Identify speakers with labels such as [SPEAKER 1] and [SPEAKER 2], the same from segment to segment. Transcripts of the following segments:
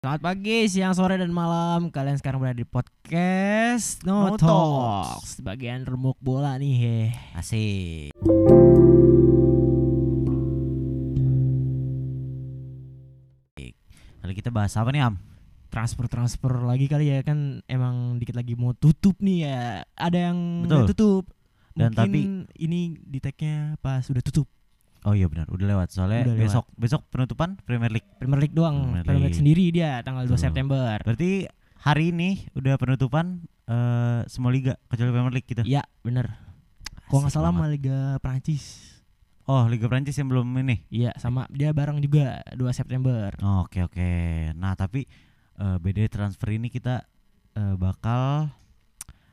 [SPEAKER 1] Selamat pagi, siang, sore, dan malam. Kalian sekarang berada di podcast No,
[SPEAKER 2] No
[SPEAKER 1] Talks. Bagian remuk bola nih. he.
[SPEAKER 2] Asik. Kali kita bahas apa nih Am?
[SPEAKER 1] Transfer-transfer lagi kali ya kan emang dikit lagi mau tutup nih ya. Ada yang
[SPEAKER 2] Betul.
[SPEAKER 1] udah tutup.
[SPEAKER 2] Dan
[SPEAKER 1] Mungkin
[SPEAKER 2] tapi-
[SPEAKER 1] ini di tag-nya pas udah tutup.
[SPEAKER 2] Oh iya benar, udah lewat. Soalnya
[SPEAKER 1] Udah lewat.
[SPEAKER 2] besok besok penutupan Premier League.
[SPEAKER 1] Premier League doang.
[SPEAKER 2] Premier
[SPEAKER 1] Premier League
[SPEAKER 2] League.
[SPEAKER 1] sendiri dia tanggal 2
[SPEAKER 2] Betul.
[SPEAKER 1] September.
[SPEAKER 2] Berarti hari ini udah penutupan eh, semua liga kecuali Premier League gitu.
[SPEAKER 1] Iya, bener. Kalau nggak
[SPEAKER 2] Asik
[SPEAKER 1] salah
[SPEAKER 2] banget.
[SPEAKER 1] sama Liga Prancis.
[SPEAKER 2] Oh, Liga Prancis yang belum ini.
[SPEAKER 1] Iya, sama dia bareng juga 2 September.
[SPEAKER 2] Oh, Oke, oke. Nah, tapi eh, BD transfer ini kita eh, bakal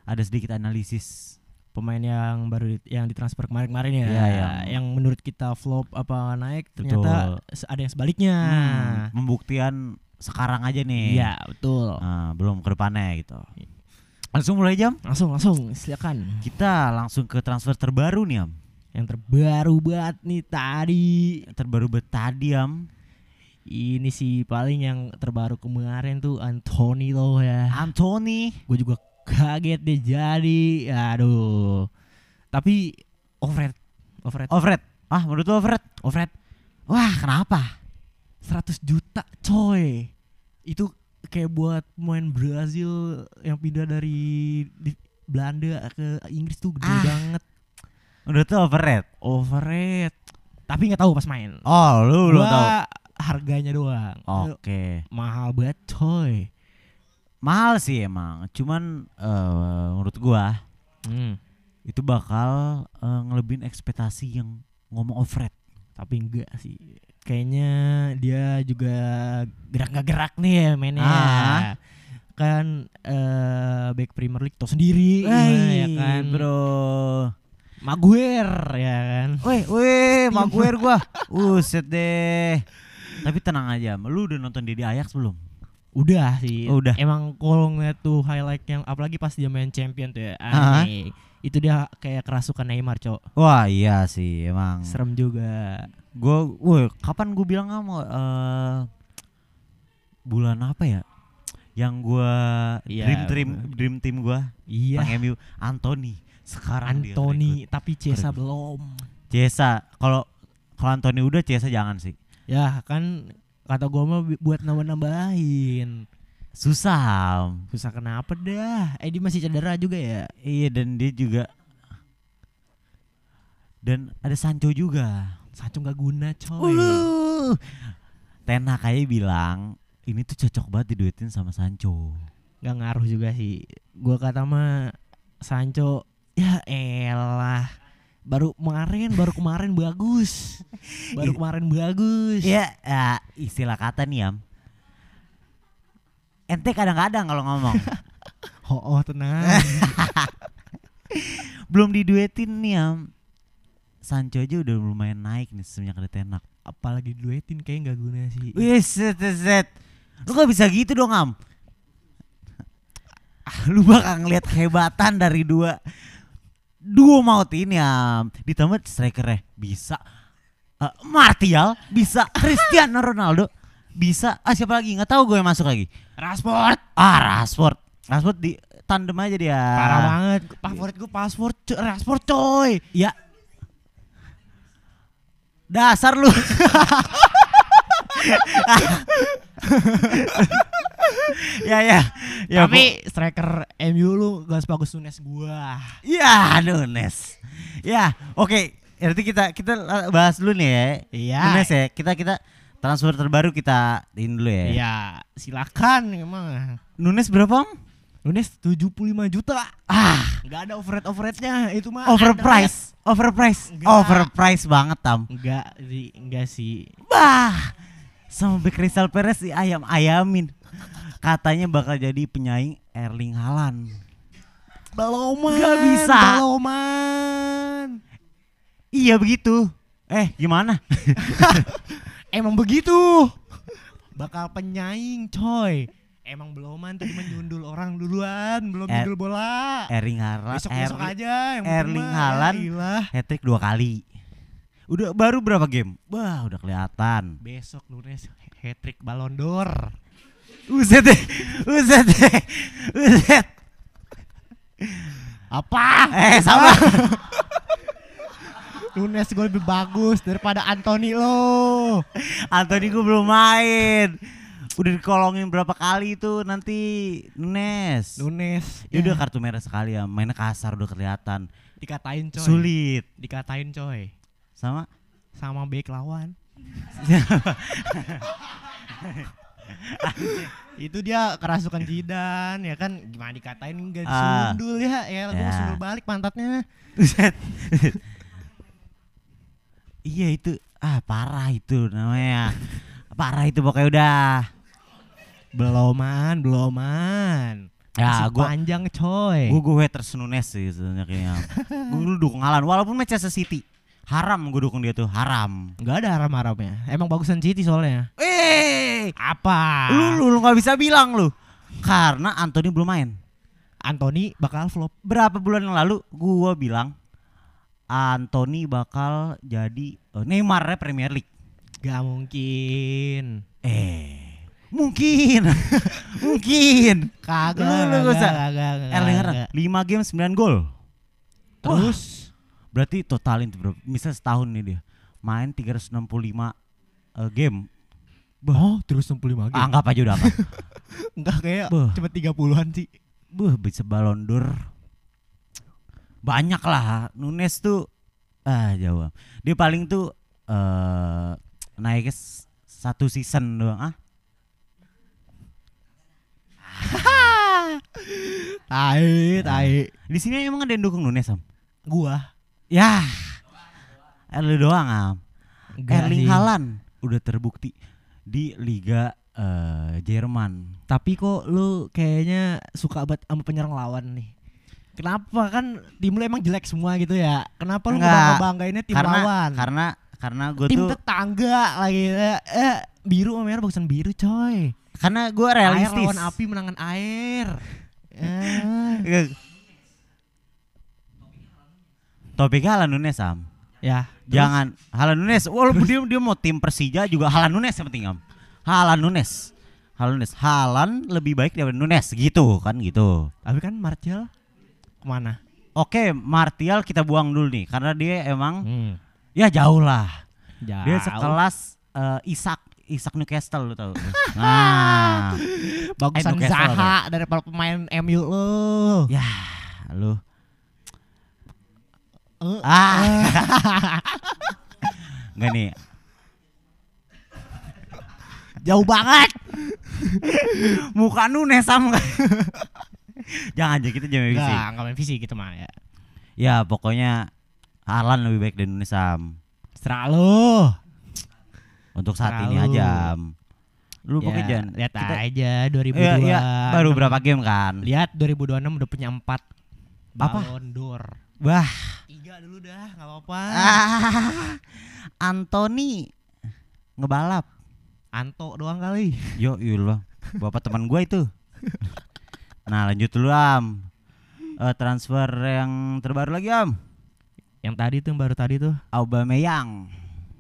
[SPEAKER 2] ada sedikit analisis.
[SPEAKER 1] pemain yang baru di- yang ditransfer kemarin-kemarin ya,
[SPEAKER 2] Iya, yang-
[SPEAKER 1] yang menurut kita flop apa naik ternyata se- ada yang sebaliknya.
[SPEAKER 2] Hmm, pembuktian sekarang aja
[SPEAKER 1] Nah.
[SPEAKER 2] nih.
[SPEAKER 1] Iya, betul.
[SPEAKER 2] Nah, belum ke depannya gitu. Langsung mulai jam.
[SPEAKER 1] Langsung langsung silakan.
[SPEAKER 2] Kita langsung ke transfer terbaru nih Am
[SPEAKER 1] Yang terbaru banget nih tadi.
[SPEAKER 2] Terbaru bet tadi Am
[SPEAKER 1] Ini sih paling yang terbaru kemarin tuh Anthony loh ya.
[SPEAKER 2] Anthony
[SPEAKER 1] Gue juga kaget dia jadi. Aduh. Tapi overrated overrated
[SPEAKER 2] Ovred Ah menurut lu Ovred?
[SPEAKER 1] overrated
[SPEAKER 2] Wah kenapa?
[SPEAKER 1] 100 juta coy itu kayak buat pemain Brazil yang pindah dari di- Belanda ke Inggris tuh gede
[SPEAKER 2] Ah.
[SPEAKER 1] banget
[SPEAKER 2] Menurut lu Ovred?
[SPEAKER 1] overrated tapi nggak tahu pas main
[SPEAKER 2] Oh lu
[SPEAKER 1] Gua
[SPEAKER 2] belum tahu Oh.
[SPEAKER 1] harganya doang
[SPEAKER 2] Oke
[SPEAKER 1] mahal banget coy
[SPEAKER 2] Mahal sih emang Cuman eh, menurut gua Hmm. Itu bakal eh, ngelebihin ekspektasi yang ngomong Ovred
[SPEAKER 1] tapi enggak sih kayaknya dia juga gerak nggak gerak nih ya mainnya
[SPEAKER 2] Ah.
[SPEAKER 1] kan eh back Premier League tau sendiri
[SPEAKER 2] Wey,
[SPEAKER 1] ya kan
[SPEAKER 2] Iya, bro
[SPEAKER 1] Maguire ya kan
[SPEAKER 2] Weh weh Maguire gua Uset deh Tapi tenang aja Am. Lu udah nonton dia di Ajax belum?
[SPEAKER 1] Udah sih.
[SPEAKER 2] Oh, udah.
[SPEAKER 1] Emang kalau ngeliat tuh highlight yang apalagi pas dia main champion tuh ya.
[SPEAKER 2] Ah.
[SPEAKER 1] aneh. Itu dia kayak kerasukan Neymar, Cok.
[SPEAKER 2] Wah iya sih emang
[SPEAKER 1] Serem juga.
[SPEAKER 2] gue woi kapan gue bilang sama eh bulan apa ya yang gue
[SPEAKER 1] Iya,
[SPEAKER 2] dream dream dream team gue
[SPEAKER 1] Iya.
[SPEAKER 2] tentang MU Anthony sekarang dia
[SPEAKER 1] Anthony tapi Cesa
[SPEAKER 2] Rekrut.
[SPEAKER 1] belum.
[SPEAKER 2] rekrut. Cesa kalau kalau Anthony udah Cesa jangan sih
[SPEAKER 1] Ya, kan kata gua mah bi- buat nambah-nambahin.
[SPEAKER 2] susah Am.
[SPEAKER 1] Susah kenapa dah? Edi masih cedera juga ya.
[SPEAKER 2] iya dan dia juga dan ada Sancho juga
[SPEAKER 1] Sancho nggak guna, coy.
[SPEAKER 2] Wuh. Ten Hag aja bilang ini tuh cocok banget diduetin sama Sancho
[SPEAKER 1] Nggak ngaruh juga sih. Gua kata mah Sancho ya elah. Baru kemarin, baru kemarin bagus. Baru kemarin bagus.
[SPEAKER 2] Ya, ya, istilah kata nih Am. Ente kadang-kadang kalau ngomong
[SPEAKER 1] Oh, oh tenang.
[SPEAKER 2] belum diduetin nih Am. Sancho aja udah lumayan naik nih semenjak ada tenak.
[SPEAKER 1] Apalagi duetin kayak nggak guna sih.
[SPEAKER 2] Wih,
[SPEAKER 1] Iya.
[SPEAKER 2] set, set. Lu gak bisa gitu dong Am. Ah, Lu bakal ngeliat kehebatan dari dua duo maut ini Am. Ditambah strikernya bisa eh, Martial, bisa Cristiano Ronaldo, bisa ah siapa lagi nggak tahu gue yang masuk lagi.
[SPEAKER 1] Rashford
[SPEAKER 2] Ah Rashford Rashford di tandem aja dia
[SPEAKER 1] parah banget. Favorit gue password co- Rashford coy.
[SPEAKER 2] Ya Dasar lu Ya ya ya
[SPEAKER 1] Tapi striker MU lu gak sebagus Nunes gua.
[SPEAKER 2] bu- Ya Nunes Ya oke Nanti kita kita eh, bahas dulu nih ya
[SPEAKER 1] Iya.
[SPEAKER 2] Nunes ya Kita kita transfer terbaru kita ini dulu ya
[SPEAKER 1] Iya, silakan emang.
[SPEAKER 2] Nunes berapa Om?
[SPEAKER 1] Nunes 75 juta.
[SPEAKER 2] Ah
[SPEAKER 1] Gak ada overrate overratenya itu mah.
[SPEAKER 2] overprice Overprice
[SPEAKER 1] Enggak.
[SPEAKER 2] Overprice banget Tam
[SPEAKER 1] Enggak sih, enggak sih.
[SPEAKER 2] Bah, sama Bek Crystal Perez si ayam ayamin. Katanya bakal jadi penyaing Erling Haaland.
[SPEAKER 1] Beloman.
[SPEAKER 2] Nggak bisa.
[SPEAKER 1] Beloman.
[SPEAKER 2] Iya begitu. Eh gimana?
[SPEAKER 1] Emang begitu. Bakal penyaing coy. Emang beloman tadi menyundul orang duluan, belum
[SPEAKER 2] Er-
[SPEAKER 1] nyundul bola.
[SPEAKER 2] Erling Haaland.
[SPEAKER 1] Besok-besok
[SPEAKER 2] Erling-
[SPEAKER 1] aja yang penting
[SPEAKER 2] Erling
[SPEAKER 1] mah,
[SPEAKER 2] Haaland.
[SPEAKER 1] ya ilah.
[SPEAKER 2] hat-trick dua kali. Udah baru berapa game? Wah udah kelihatan.
[SPEAKER 1] Besok Nunes hat-trick Ballon d'Or.
[SPEAKER 2] Uset deh. Uset deh. Uset.
[SPEAKER 1] Apa?
[SPEAKER 2] Eh sama.
[SPEAKER 1] Nunes gue lebih bagus daripada Anthony lo.
[SPEAKER 2] Anthony gue belum main. Udah dikolongin berapa kali itu nanti Nes.
[SPEAKER 1] Nunes. Iya.
[SPEAKER 2] Dia udah kartu merah sekali ya, mainnya kasar udah kelihatan.
[SPEAKER 1] dikatain coy.
[SPEAKER 2] Sulit.
[SPEAKER 1] Dikatain coy.
[SPEAKER 2] Sama
[SPEAKER 1] Sama back lawan. itu dia kerasukan jidan ya kan gimana dikatain enggak
[SPEAKER 2] Ah.
[SPEAKER 1] disundul ya ya gue
[SPEAKER 2] Ya.
[SPEAKER 1] sundul balik pantatnya
[SPEAKER 2] Buset. iya itu ah parah itu namanya. Parah itu pokoknya udah.
[SPEAKER 1] beloman beloman Masih
[SPEAKER 2] Ya gua
[SPEAKER 1] panjang coy
[SPEAKER 2] gue gue haters Nunes sih sebenarnya kayaknya. gue dulu dukung Alan walaupun Manchester City haram gue dukung dia tuh haram.
[SPEAKER 1] nggak ada haram haramnya emang bagusan City soalnya
[SPEAKER 2] Eh,
[SPEAKER 1] apa
[SPEAKER 2] lu lu lu nggak bisa bilang lu karena Anthony belum main.
[SPEAKER 1] Anthony bakal flop
[SPEAKER 2] Berapa bulan yang lalu gue bilang Anthony bakal jadi eh, Neymar Premier League.
[SPEAKER 1] gak mungkin
[SPEAKER 2] Eh, mungkin, mungkin. Eh,
[SPEAKER 1] kagak
[SPEAKER 2] Lu- lu
[SPEAKER 1] kagak,
[SPEAKER 2] nggak usah.
[SPEAKER 1] kagak, kagak,
[SPEAKER 2] Erling
[SPEAKER 1] kagak.
[SPEAKER 2] Haaland 5 game 9 gol.
[SPEAKER 1] terus
[SPEAKER 2] Berarti totalin tuh bro. Misal setahun nih dia main 365 eh, game.
[SPEAKER 1] Bah, terus 65 game.
[SPEAKER 2] Anggap aja udah apa.
[SPEAKER 1] Enggak Ah, kayak
[SPEAKER 2] Bah.
[SPEAKER 1] cuma 30-an sih.
[SPEAKER 2] Buh, bisa Ballon d'Or. Banyak lah. Nunes tuh ah jawab. Dia paling tuh eh naiknya s- satu season doang ah.
[SPEAKER 1] Tai, tai.
[SPEAKER 2] Di sini emang ada yang dukung Nunes, Am?
[SPEAKER 1] Gua
[SPEAKER 2] Yah. Eh, Lu doang, Am.
[SPEAKER 1] enggak
[SPEAKER 2] Erling
[SPEAKER 1] sih.
[SPEAKER 2] Haaland udah terbukti di Liga eh, Jerman.
[SPEAKER 1] Tapi kok lu kayaknya suka banget sama penyerang lawan nih. Kenapa kan tim lu emang jelek semua gitu ya? Kenapa lu
[SPEAKER 2] Enggak.
[SPEAKER 1] ngebangga-banggainnya tim
[SPEAKER 2] karena
[SPEAKER 1] lawan?
[SPEAKER 2] karena karena gue
[SPEAKER 1] tim
[SPEAKER 2] tuh
[SPEAKER 1] tetangga lagi eh, eh, biru sama merah bagusan biru coy.
[SPEAKER 2] karena gue
[SPEAKER 1] Air
[SPEAKER 2] realistis.
[SPEAKER 1] lawan api menangan air. Eh,
[SPEAKER 2] Nggak. Topiknya Haaland Nunes Sam.
[SPEAKER 1] ya,
[SPEAKER 2] Jangan Haaland Nunes. Walaupun dia dia mau tim Persija juga Haaland Nunes yang penting Am. Haaland Nunes. Haaland Nunes. Haaland lebih baik daripada Nunes gitu kan gitu.
[SPEAKER 1] tapi kan Martial kemana?
[SPEAKER 2] Oke, Martial kita buang dulu nih karena dia emang
[SPEAKER 1] Hmm.
[SPEAKER 2] ya jauh lah.
[SPEAKER 1] Jauh.
[SPEAKER 2] Dia sekelas eh, Isak Isak Newcastle lu tahu. nah,
[SPEAKER 1] bagusan
[SPEAKER 2] Eh, Newcastle
[SPEAKER 1] Zaha daripada pemain MU lu.
[SPEAKER 2] ya lu.
[SPEAKER 1] Eh.
[SPEAKER 2] Ah. Enggak nih.
[SPEAKER 1] Jauh banget.
[SPEAKER 2] Muka Nunes sama Jangan aja kita jangan bisa.
[SPEAKER 1] Enggak, enggak main fisik gitu mah ya.
[SPEAKER 2] Ya pokoknya Alan lebih baik dari Nunes Sam.
[SPEAKER 1] Serah lu.
[SPEAKER 2] Untuk saat
[SPEAKER 1] Terlalu.
[SPEAKER 2] ini aja. Am. Lu pokoknya
[SPEAKER 1] Ya,
[SPEAKER 2] jangan.
[SPEAKER 1] lihat
[SPEAKER 2] kita-
[SPEAKER 1] aja 2002.
[SPEAKER 2] Iya, iya, baru berapa game kan?
[SPEAKER 1] Lihat 2026 udah punya 4
[SPEAKER 2] Apa?
[SPEAKER 1] Ballon d'Or.
[SPEAKER 2] Wah.
[SPEAKER 1] Tiga dulu dah, enggak apa-apa.
[SPEAKER 2] Ah, Anthony ngebalap.
[SPEAKER 1] Anto doang kali.
[SPEAKER 2] Yo, ilah. Bapak teman gua itu. Nah, lanjut dulu, Am. Eh, transfer yang terbaru lagi, Am.
[SPEAKER 1] Yang tadi tuh yang baru tadi tuh
[SPEAKER 2] Aubameyang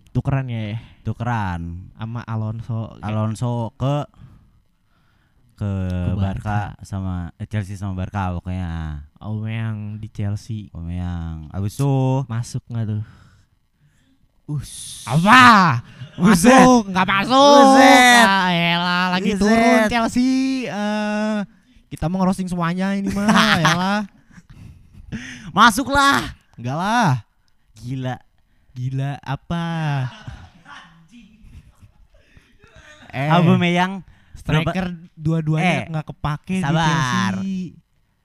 [SPEAKER 1] tukeran ya
[SPEAKER 2] tukeran
[SPEAKER 1] sama Alonso.
[SPEAKER 2] Alonso ke ke,
[SPEAKER 1] Ke
[SPEAKER 2] Barca
[SPEAKER 1] Barca.
[SPEAKER 2] sama eh, Chelsea sama Barca pokoknya.
[SPEAKER 1] Aubameyang di Chelsea
[SPEAKER 2] Aubameyang. Abis itu
[SPEAKER 1] masuk nggak tuh?
[SPEAKER 2] us.
[SPEAKER 1] Apa?
[SPEAKER 2] Buset.
[SPEAKER 1] Masuk, nggak masuk.
[SPEAKER 2] Buset.
[SPEAKER 1] Ah, elah, lagi
[SPEAKER 2] Buset.
[SPEAKER 1] turun Chelsea. Eh, kita mau ngerosting semuanya ini mah, elah.
[SPEAKER 2] Masuklah.
[SPEAKER 1] Enggak lah.
[SPEAKER 2] Gila.
[SPEAKER 1] Gila apa? Eh,
[SPEAKER 2] Aubameyang berapa,
[SPEAKER 1] striker dua-duanya
[SPEAKER 2] Eh,
[SPEAKER 1] nggak kepake di
[SPEAKER 2] sabar.
[SPEAKER 1] Chelsea.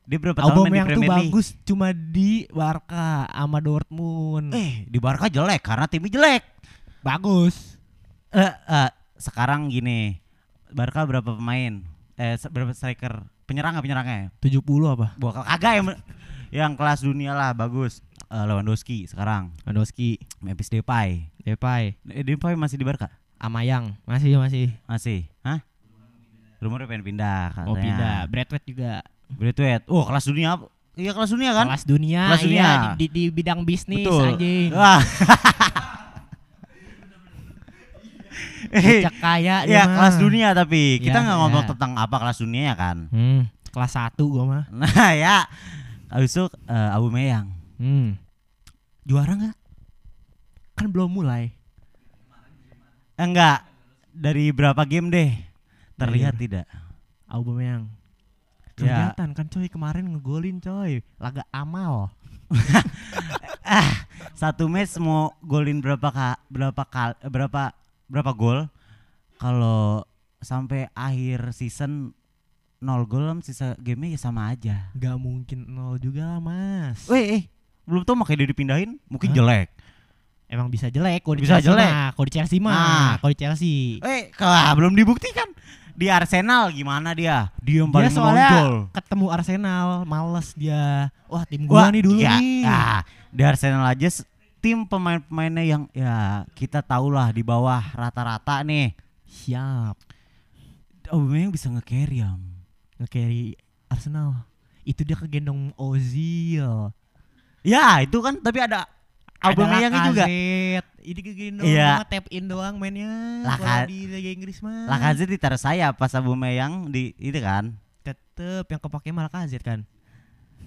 [SPEAKER 2] dia berapa tahun
[SPEAKER 1] Album
[SPEAKER 2] main di
[SPEAKER 1] yang tuh
[SPEAKER 2] Premier League?
[SPEAKER 1] bagus cuma di Barca sama Dortmund.
[SPEAKER 2] Eh, di Barca jelek karena timnya jelek.
[SPEAKER 1] Bagus.
[SPEAKER 2] Eh, eh, sekarang gini. Barca berapa pemain? Eh, se- berapa striker? Penyerang nggak penyerangnya?
[SPEAKER 1] 70 apa?
[SPEAKER 2] Bakal kagak yang yang kelas dunia lah bagus. Eh, Lewandowski sekarang.
[SPEAKER 1] Lewandowski,
[SPEAKER 2] Memphis Depay.
[SPEAKER 1] Depay,
[SPEAKER 2] Eh, Depay masih di Barca?
[SPEAKER 1] Amayang masih masih.
[SPEAKER 2] Masih. Hah? Rumornya pengen pindah katanya.
[SPEAKER 1] Oh pindah, Bradford juga.
[SPEAKER 2] Bradwaite. Oh, kelas dunia. apa? Iya, kelas dunia kan?
[SPEAKER 1] Kelas dunia,
[SPEAKER 2] Kelas dunia. Ah.
[SPEAKER 1] iya di, di- di bidang bisnis anjing.
[SPEAKER 2] Wah.
[SPEAKER 1] Bocah kaya dia
[SPEAKER 2] Ya
[SPEAKER 1] mah.
[SPEAKER 2] kelas dunia tapi kita
[SPEAKER 1] Ya,
[SPEAKER 2] nggak ngomong
[SPEAKER 1] ya.
[SPEAKER 2] tentang apa kelas dunia ya kan.
[SPEAKER 1] Hmm, kelas 1 gua mah.
[SPEAKER 2] Nah ya, abis itu eh, Abu Meyang
[SPEAKER 1] Hmm.
[SPEAKER 2] juara nggak?
[SPEAKER 1] Kan belum mulai.
[SPEAKER 2] Eh, Enggak. Dari berapa game deh? Terlihat
[SPEAKER 1] Iya.
[SPEAKER 2] tidak?
[SPEAKER 1] Aubameyang.
[SPEAKER 2] Ya.
[SPEAKER 1] Kelihatan kan coy kemarin ngegolin coy. Laga amal.
[SPEAKER 2] Satu match mau golin berapa ka, berapa kal, eh, berapa berapa gol? Kalau sampai akhir season nol gol sama sisa game ya sama aja.
[SPEAKER 1] Gak mungkin nol juga lah mas.
[SPEAKER 2] Weh, eh, belum tau makanya dia dipindahin, mungkin
[SPEAKER 1] Hah?
[SPEAKER 2] jelek.
[SPEAKER 1] Emang bisa jelek kalau di
[SPEAKER 2] Bisa
[SPEAKER 1] Chelsea
[SPEAKER 2] jelek.
[SPEAKER 1] mah. Kalau di Chelsea mah,
[SPEAKER 2] Nah.
[SPEAKER 1] kalau di Chelsea.
[SPEAKER 2] Eh, kalah belum dibuktikan. Di Arsenal gimana dia? Dia yang
[SPEAKER 1] Dia
[SPEAKER 2] paling
[SPEAKER 1] soalnya
[SPEAKER 2] menonjol.
[SPEAKER 1] ketemu Arsenal, males dia. Wah tim gua nih dulu
[SPEAKER 2] ya,
[SPEAKER 1] nih.
[SPEAKER 2] ah, di Arsenal aja s- tim pemain-pemainnya yang ya kita tahulah di bawah rata-rata nih.
[SPEAKER 1] Siap.
[SPEAKER 2] Aubameyang bisa nge-carry Am.
[SPEAKER 1] Nge-carry Arsenal. Itu dia kegendong Ozil.
[SPEAKER 2] Ya, itu kan tapi ada Aubameyang
[SPEAKER 1] Ada
[SPEAKER 2] juga.
[SPEAKER 1] Lacazette. Ini kegendong
[SPEAKER 2] Iya.
[SPEAKER 1] mah, tap in doang mainnya. Kalau
[SPEAKER 2] Laka-
[SPEAKER 1] di Liga Inggris mah.
[SPEAKER 2] Lacazette ditaruh saya pas Aubameyang di itu kan.
[SPEAKER 1] Tetep yang kepake malah Lacazette kan.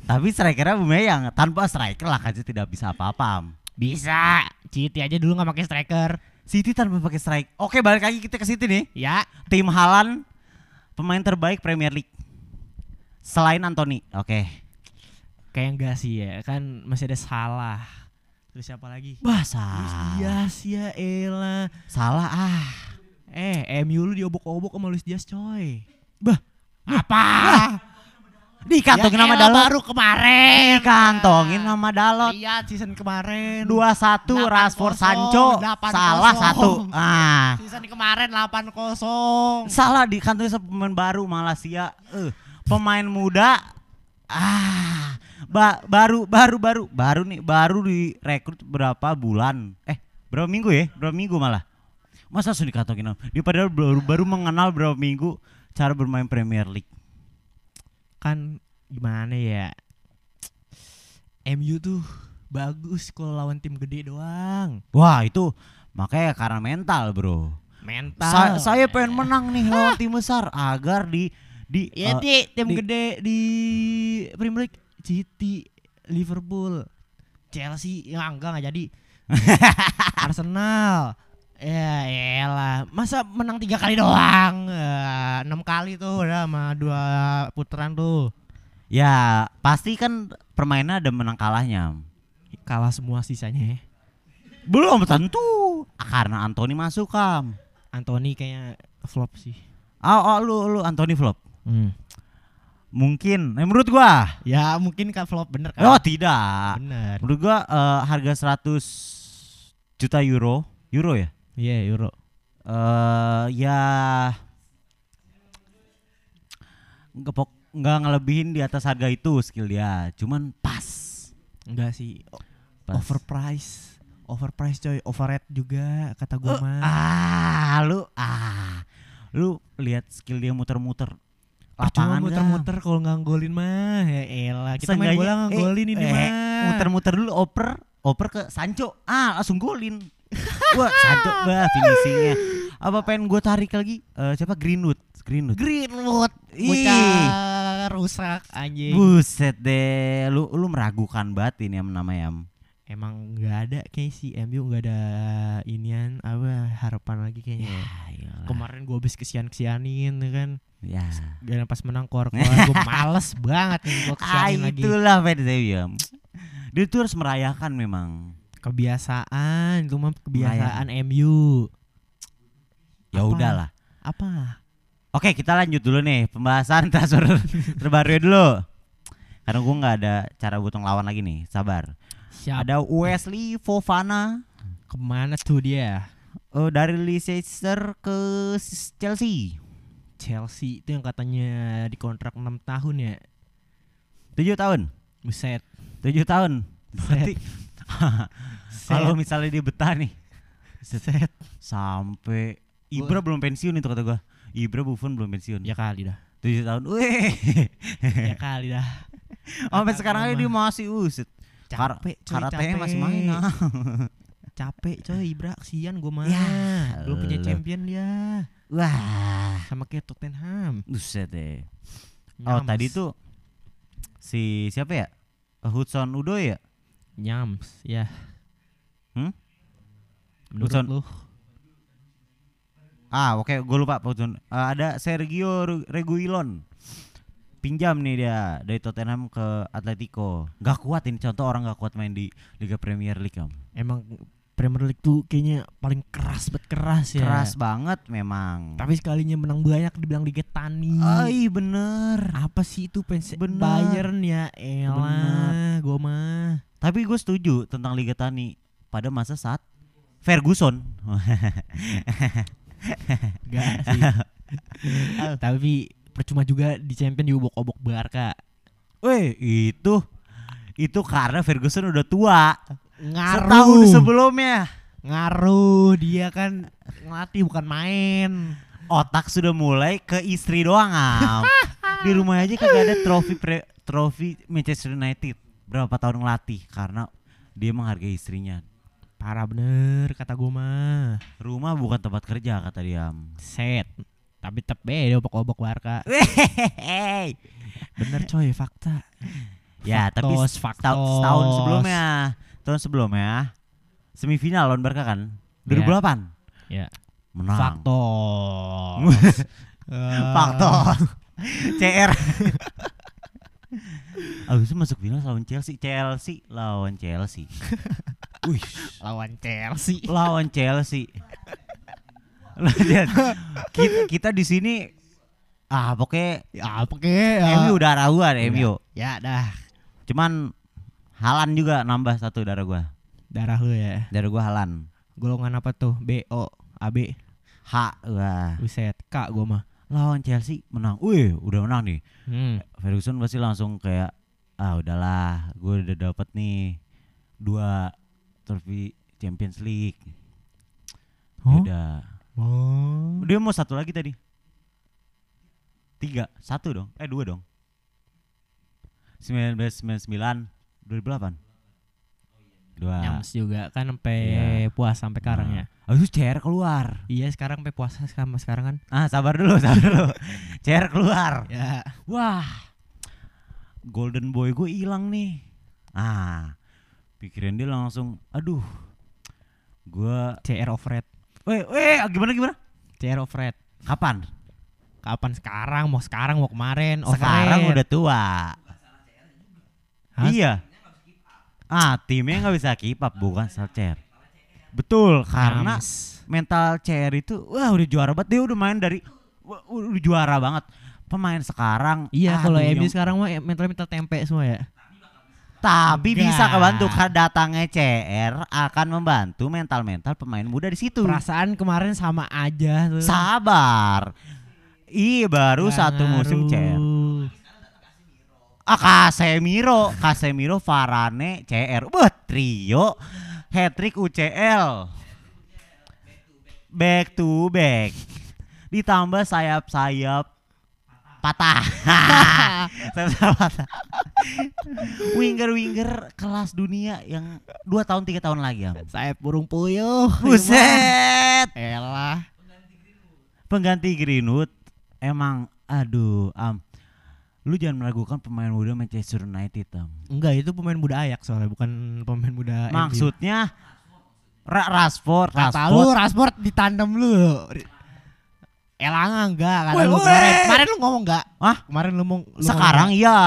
[SPEAKER 2] Tapi strikernya Aubameyang tanpa striker Lacazette tidak bisa apa-apa. Am.
[SPEAKER 1] Bisa. Citi aja dulu nggak pakai striker.
[SPEAKER 2] City tanpa pakai strike. Oke, balik lagi kita ke City nih.
[SPEAKER 1] Ya.
[SPEAKER 2] Tim Halan pemain terbaik Premier League. Selain Anthony. Oke.
[SPEAKER 1] Kayak enggak sih ya. Kan masih ada salah. Terus siapa lagi?
[SPEAKER 2] Bahasa.
[SPEAKER 1] Luis Diaz ya elah.
[SPEAKER 2] Salah ah.
[SPEAKER 1] Eh, MU lu diobok-obok sama Luis Diaz coy.
[SPEAKER 2] Bah.
[SPEAKER 1] Apa?
[SPEAKER 2] Dikantongin
[SPEAKER 1] Ya
[SPEAKER 2] nama
[SPEAKER 1] elah,
[SPEAKER 2] Dalot.
[SPEAKER 1] baru kemarin.
[SPEAKER 2] Dikantongin nama Dalot.
[SPEAKER 1] Lihat season kemarin. 8-0,
[SPEAKER 2] 2-1 Rashford Sancho.
[SPEAKER 1] 8-0.
[SPEAKER 2] Salah satu. Ah.
[SPEAKER 1] Season kemarin 8-0.
[SPEAKER 2] Salah dikantongin sama pemain baru Malaysia. Eh, pemain muda. Ah. Ba- baru baru baru baru nih baru direkrut berapa bulan? Eh, berapa minggu ya? Berapa minggu malah. Masa langsung dikantongin nama? Dia padahal baru baru mengenal berapa minggu cara bermain Premier League.
[SPEAKER 1] Kan gimana ya? MU tuh bagus kalau lawan tim gede doang.
[SPEAKER 2] Wah, itu makanya karena mental, Bro.
[SPEAKER 1] Mental.
[SPEAKER 2] Sa- saya pengen menang nih lawan tim besar agar di di
[SPEAKER 1] Ya
[SPEAKER 2] eh,
[SPEAKER 1] di tim
[SPEAKER 2] di-
[SPEAKER 1] gede di Premier League City, Liverpool, Chelsea, ya enggak enggak jadi. Arsenal. Ya elah, masa menang tiga kali doang? Ya, enam kali tuh udah sama dua putaran tuh.
[SPEAKER 2] ya pasti kan permainan ada menang kalahnya.
[SPEAKER 1] Kalah semua sisanya ya.
[SPEAKER 2] Belum tentu Ah, karena Anthony masuk kam.
[SPEAKER 1] Anthony kayaknya flop sih.
[SPEAKER 2] Ah, ah, lu lu Anthony flop. Hmm. Mungkin eh, menurut gua.
[SPEAKER 1] Ya mungkin kan flop bener kan?
[SPEAKER 2] Oh, tidak.
[SPEAKER 1] bener.
[SPEAKER 2] Menurut gua eh, harga 100 juta euro, euro ya?
[SPEAKER 1] Iya Euro.
[SPEAKER 2] eh ya nggak pok- nggak ngelebihin di atas harga itu skill dia cuman pas,
[SPEAKER 1] Enggak sih. O-
[SPEAKER 2] Pas.
[SPEAKER 1] Overprice. Overprice coy, overrated juga kata
[SPEAKER 2] Eh,
[SPEAKER 1] gua mah.
[SPEAKER 2] ah lu ah lu lihat skill dia muter-muter
[SPEAKER 1] Percuma Ah,
[SPEAKER 2] lapangan
[SPEAKER 1] muter-muter kalau nggak golin mah ya elah
[SPEAKER 2] Gam.
[SPEAKER 1] kita main
[SPEAKER 2] Seenggaknya-
[SPEAKER 1] bola nggak
[SPEAKER 2] eh,
[SPEAKER 1] golin ini
[SPEAKER 2] eh,
[SPEAKER 1] mah
[SPEAKER 2] muter-muter dulu oper oper ke Sancho ah langsung golin wah Sancho bah finishingnya apa pengen gue tarik lagi Eh, siapa Greenwood Greenwood
[SPEAKER 1] Greenwood
[SPEAKER 2] Ih.
[SPEAKER 1] bocah rusak anjing
[SPEAKER 2] buset deh lu lu meragukan banget ini yang namanya Am.
[SPEAKER 1] emang nggak ada kayak si MU nggak ada inian apa harapan lagi kayaknya
[SPEAKER 2] Ya. iyalah.
[SPEAKER 1] kemarin gua habis kesian kesianin ya kan
[SPEAKER 2] Ya.
[SPEAKER 1] dan pas menang kor kor gue males banget nih gue
[SPEAKER 2] Ah,
[SPEAKER 1] kesianin lagi
[SPEAKER 2] itulah Fed saya bilang. Dia tuh harus merayakan memang.
[SPEAKER 1] kebiasaan itu mah kebiasaan MU
[SPEAKER 2] Ya
[SPEAKER 1] Apa?
[SPEAKER 2] udahlah.
[SPEAKER 1] apa
[SPEAKER 2] Oke, kita lanjut dulu nih pembahasan transfer terbarunya dulu. Karena gua nggak ada cara buat ngelawan lagi nih. Sabar.
[SPEAKER 1] siapa
[SPEAKER 2] Ada Wesley Fofana
[SPEAKER 1] kemana tuh dia
[SPEAKER 2] eh, dari Leicester ke S- Chelsea.
[SPEAKER 1] Chelsea itu yang katanya dikontrak 6 tahun ya
[SPEAKER 2] 7 tahun.
[SPEAKER 1] Buset.
[SPEAKER 2] 7 tahun. Berarti
[SPEAKER 1] Set.
[SPEAKER 2] kalau misalnya dia betah nih
[SPEAKER 1] Set.
[SPEAKER 2] sampai Ibra belum pensiun itu kata gua. Ibra Buffon belum pensiun.
[SPEAKER 1] Ya kali dah.
[SPEAKER 2] 7 tahun. Weh.
[SPEAKER 1] Ya kali dah.
[SPEAKER 2] Sampai sekarang aja dia masih uset. Kar-
[SPEAKER 1] Capek, cuy,
[SPEAKER 2] karatanya
[SPEAKER 1] capek.
[SPEAKER 2] masih main. ah.
[SPEAKER 1] capek coy Ibra kesian gue mah
[SPEAKER 2] Ya,
[SPEAKER 1] belum punya
[SPEAKER 2] lu.
[SPEAKER 1] champion dia
[SPEAKER 2] Wah,
[SPEAKER 1] sama kayak Tottenham
[SPEAKER 2] buset deh. Oh tadi tuh si siapa ya? Hudson Udo ya?
[SPEAKER 1] nyams ya
[SPEAKER 2] Hmm?
[SPEAKER 1] menurut
[SPEAKER 2] Hudson-
[SPEAKER 1] lu
[SPEAKER 2] Ah oke gue lupa Hudson. Eh, ada Sergio Ru- Reguilon pinjam nih dia dari Tottenham ke Atletico. Gak kuat ini contoh orang gak kuat main di Liga Premier League Om.
[SPEAKER 1] emang Premier League tuh kayaknya paling keras bet keras ya
[SPEAKER 2] Keras banget memang.
[SPEAKER 1] tapi sekalinya menang banyak dibilang Liga Tani
[SPEAKER 2] Ay bener.
[SPEAKER 1] apa sih itu fans
[SPEAKER 2] Bener.
[SPEAKER 1] Bayern ya elah gue mah
[SPEAKER 2] Tapi gue setuju tentang Liga Tani pada masa saat Ferguson.
[SPEAKER 1] Enggak sih. Tapi percuma juga di champion diubok-obok Barca.
[SPEAKER 2] Weh Eh, itu itu karena Ferguson udah tua. Setahun
[SPEAKER 1] Ngaruh.
[SPEAKER 2] sebelumnya
[SPEAKER 1] ngaruh dia kan ngelatih bukan main.
[SPEAKER 2] otak sudah mulai ke istri doang am. Di rumah aja kagak ada trofi pre- trofi Manchester United berapa tahun ngelatih karena dia menghargai istrinya.
[SPEAKER 1] Parah bener kata gue mah.
[SPEAKER 2] Rumah bukan tempat kerja kata dia. Am.
[SPEAKER 1] Set. Tapi tetep be obok-obok Barca.
[SPEAKER 2] Wehehehe.
[SPEAKER 1] Bener coy fakta.
[SPEAKER 2] ya tapi
[SPEAKER 1] Faktos,
[SPEAKER 2] setahun,
[SPEAKER 1] faktos.
[SPEAKER 2] setahun sebelumnya, tahun sebelumnya semifinal lawan Barca kan
[SPEAKER 1] Iya.
[SPEAKER 2] 2008
[SPEAKER 1] Ya.
[SPEAKER 2] menang.
[SPEAKER 1] Faktos. Eh,
[SPEAKER 2] Faktor. CR. Abis itu masuk final lawan Chelsea. Chelsea lawan Chelsea. Wih,
[SPEAKER 1] lawan Chelsea.
[SPEAKER 2] lawan Chelsea. Lihat, kita, kita di sini ah pokoknya
[SPEAKER 1] Ya apa kek? ya?
[SPEAKER 2] MU udah rawan MU.
[SPEAKER 1] Ya dah.
[SPEAKER 2] Cuman Halan juga nambah satu darah gua.
[SPEAKER 1] Darah lu ya.
[SPEAKER 2] Darah gua Halan.
[SPEAKER 1] Golongan apa tuh? B O A B.
[SPEAKER 2] H wah.
[SPEAKER 1] Buset, K gue mah.
[SPEAKER 2] Lawan Chelsea menang. Wih, udah menang nih.
[SPEAKER 1] Hmm.
[SPEAKER 2] Ferguson pasti langsung kayak ah udahlah gue udah dapet nih dua trofi Champions League
[SPEAKER 1] Huh?
[SPEAKER 2] udah
[SPEAKER 1] Oh.
[SPEAKER 2] dia mau satu lagi tadi tiga satu dong eh dua dong 1999 2008 dua
[SPEAKER 1] Nyams juga kan sampai
[SPEAKER 2] Iya.
[SPEAKER 1] puasa sampai sekarang ya.
[SPEAKER 2] Nah, Abis itu CR keluar
[SPEAKER 1] Iya sekarang sampai puasa sama sekarang kan.
[SPEAKER 2] ah sabar dulu sabar dulu CR keluar
[SPEAKER 1] Ya.
[SPEAKER 2] Wah, golden boy gue hilang nih. Ah, pikiran dia langsung, aduh, gue,
[SPEAKER 1] CR overrated.
[SPEAKER 2] weh, weh, eh, gimana gimana?
[SPEAKER 1] CR overrated.
[SPEAKER 2] Kapan?
[SPEAKER 1] Kapan sekarang? Mau sekarang mau kemarin?
[SPEAKER 2] Sekarang
[SPEAKER 1] overrated.
[SPEAKER 2] Oh, udah tua.
[SPEAKER 1] Hah?
[SPEAKER 2] Iya. Ah, timnya nggak bisa keep up bukan salah CR. Betul, karena
[SPEAKER 1] Nyams.
[SPEAKER 2] mental CR itu, wah udah juara banget dia udah main dari, wah, udah juara banget. Pemain sekarang,
[SPEAKER 1] Iya kalau
[SPEAKER 2] aduh,
[SPEAKER 1] MU
[SPEAKER 2] yang-
[SPEAKER 1] sekarang mah mental mental tempe semua ya.
[SPEAKER 2] Tapi bisa
[SPEAKER 1] Enggak.
[SPEAKER 2] kebantu karena datangnya CR akan membantu mental-mental pemain muda di situ.
[SPEAKER 1] Perasaan kemarin sama aja tuh.
[SPEAKER 2] Sabar. Iya baru
[SPEAKER 1] Nggak
[SPEAKER 2] satu musim
[SPEAKER 1] ngaruh.
[SPEAKER 2] CR. Ah Casemiro, Casemiro, Varane, CR. Wah, trio hat-trick UCL. Back to back. Ditambah sayap-sayap patah. sayap-sayap patah. Winger-winger kelas dunia yang 2 tahun 3 tahun lagi, Am.
[SPEAKER 1] Saya burung puyuh.
[SPEAKER 2] Buset.
[SPEAKER 1] Elah.
[SPEAKER 2] Pengganti Greenwood emang aduh, Am. Lu jangan meragukan pemain muda Manchester United, Am.
[SPEAKER 1] Enggak itu pemain muda Ayak soalnya bukan pemain muda MU.
[SPEAKER 2] Maksudnya Ra Rashford,
[SPEAKER 1] Kata lu
[SPEAKER 2] Rashford.
[SPEAKER 1] Rashford di tandem lu. Elanga enggak kata
[SPEAKER 2] Weh,
[SPEAKER 1] lu
[SPEAKER 2] weh.
[SPEAKER 1] kemarin. Kemarin lu ngomong enggak?
[SPEAKER 2] Hah?
[SPEAKER 1] Kemarin lu ngomong lu
[SPEAKER 2] Sekarang
[SPEAKER 1] ngomong
[SPEAKER 2] iya.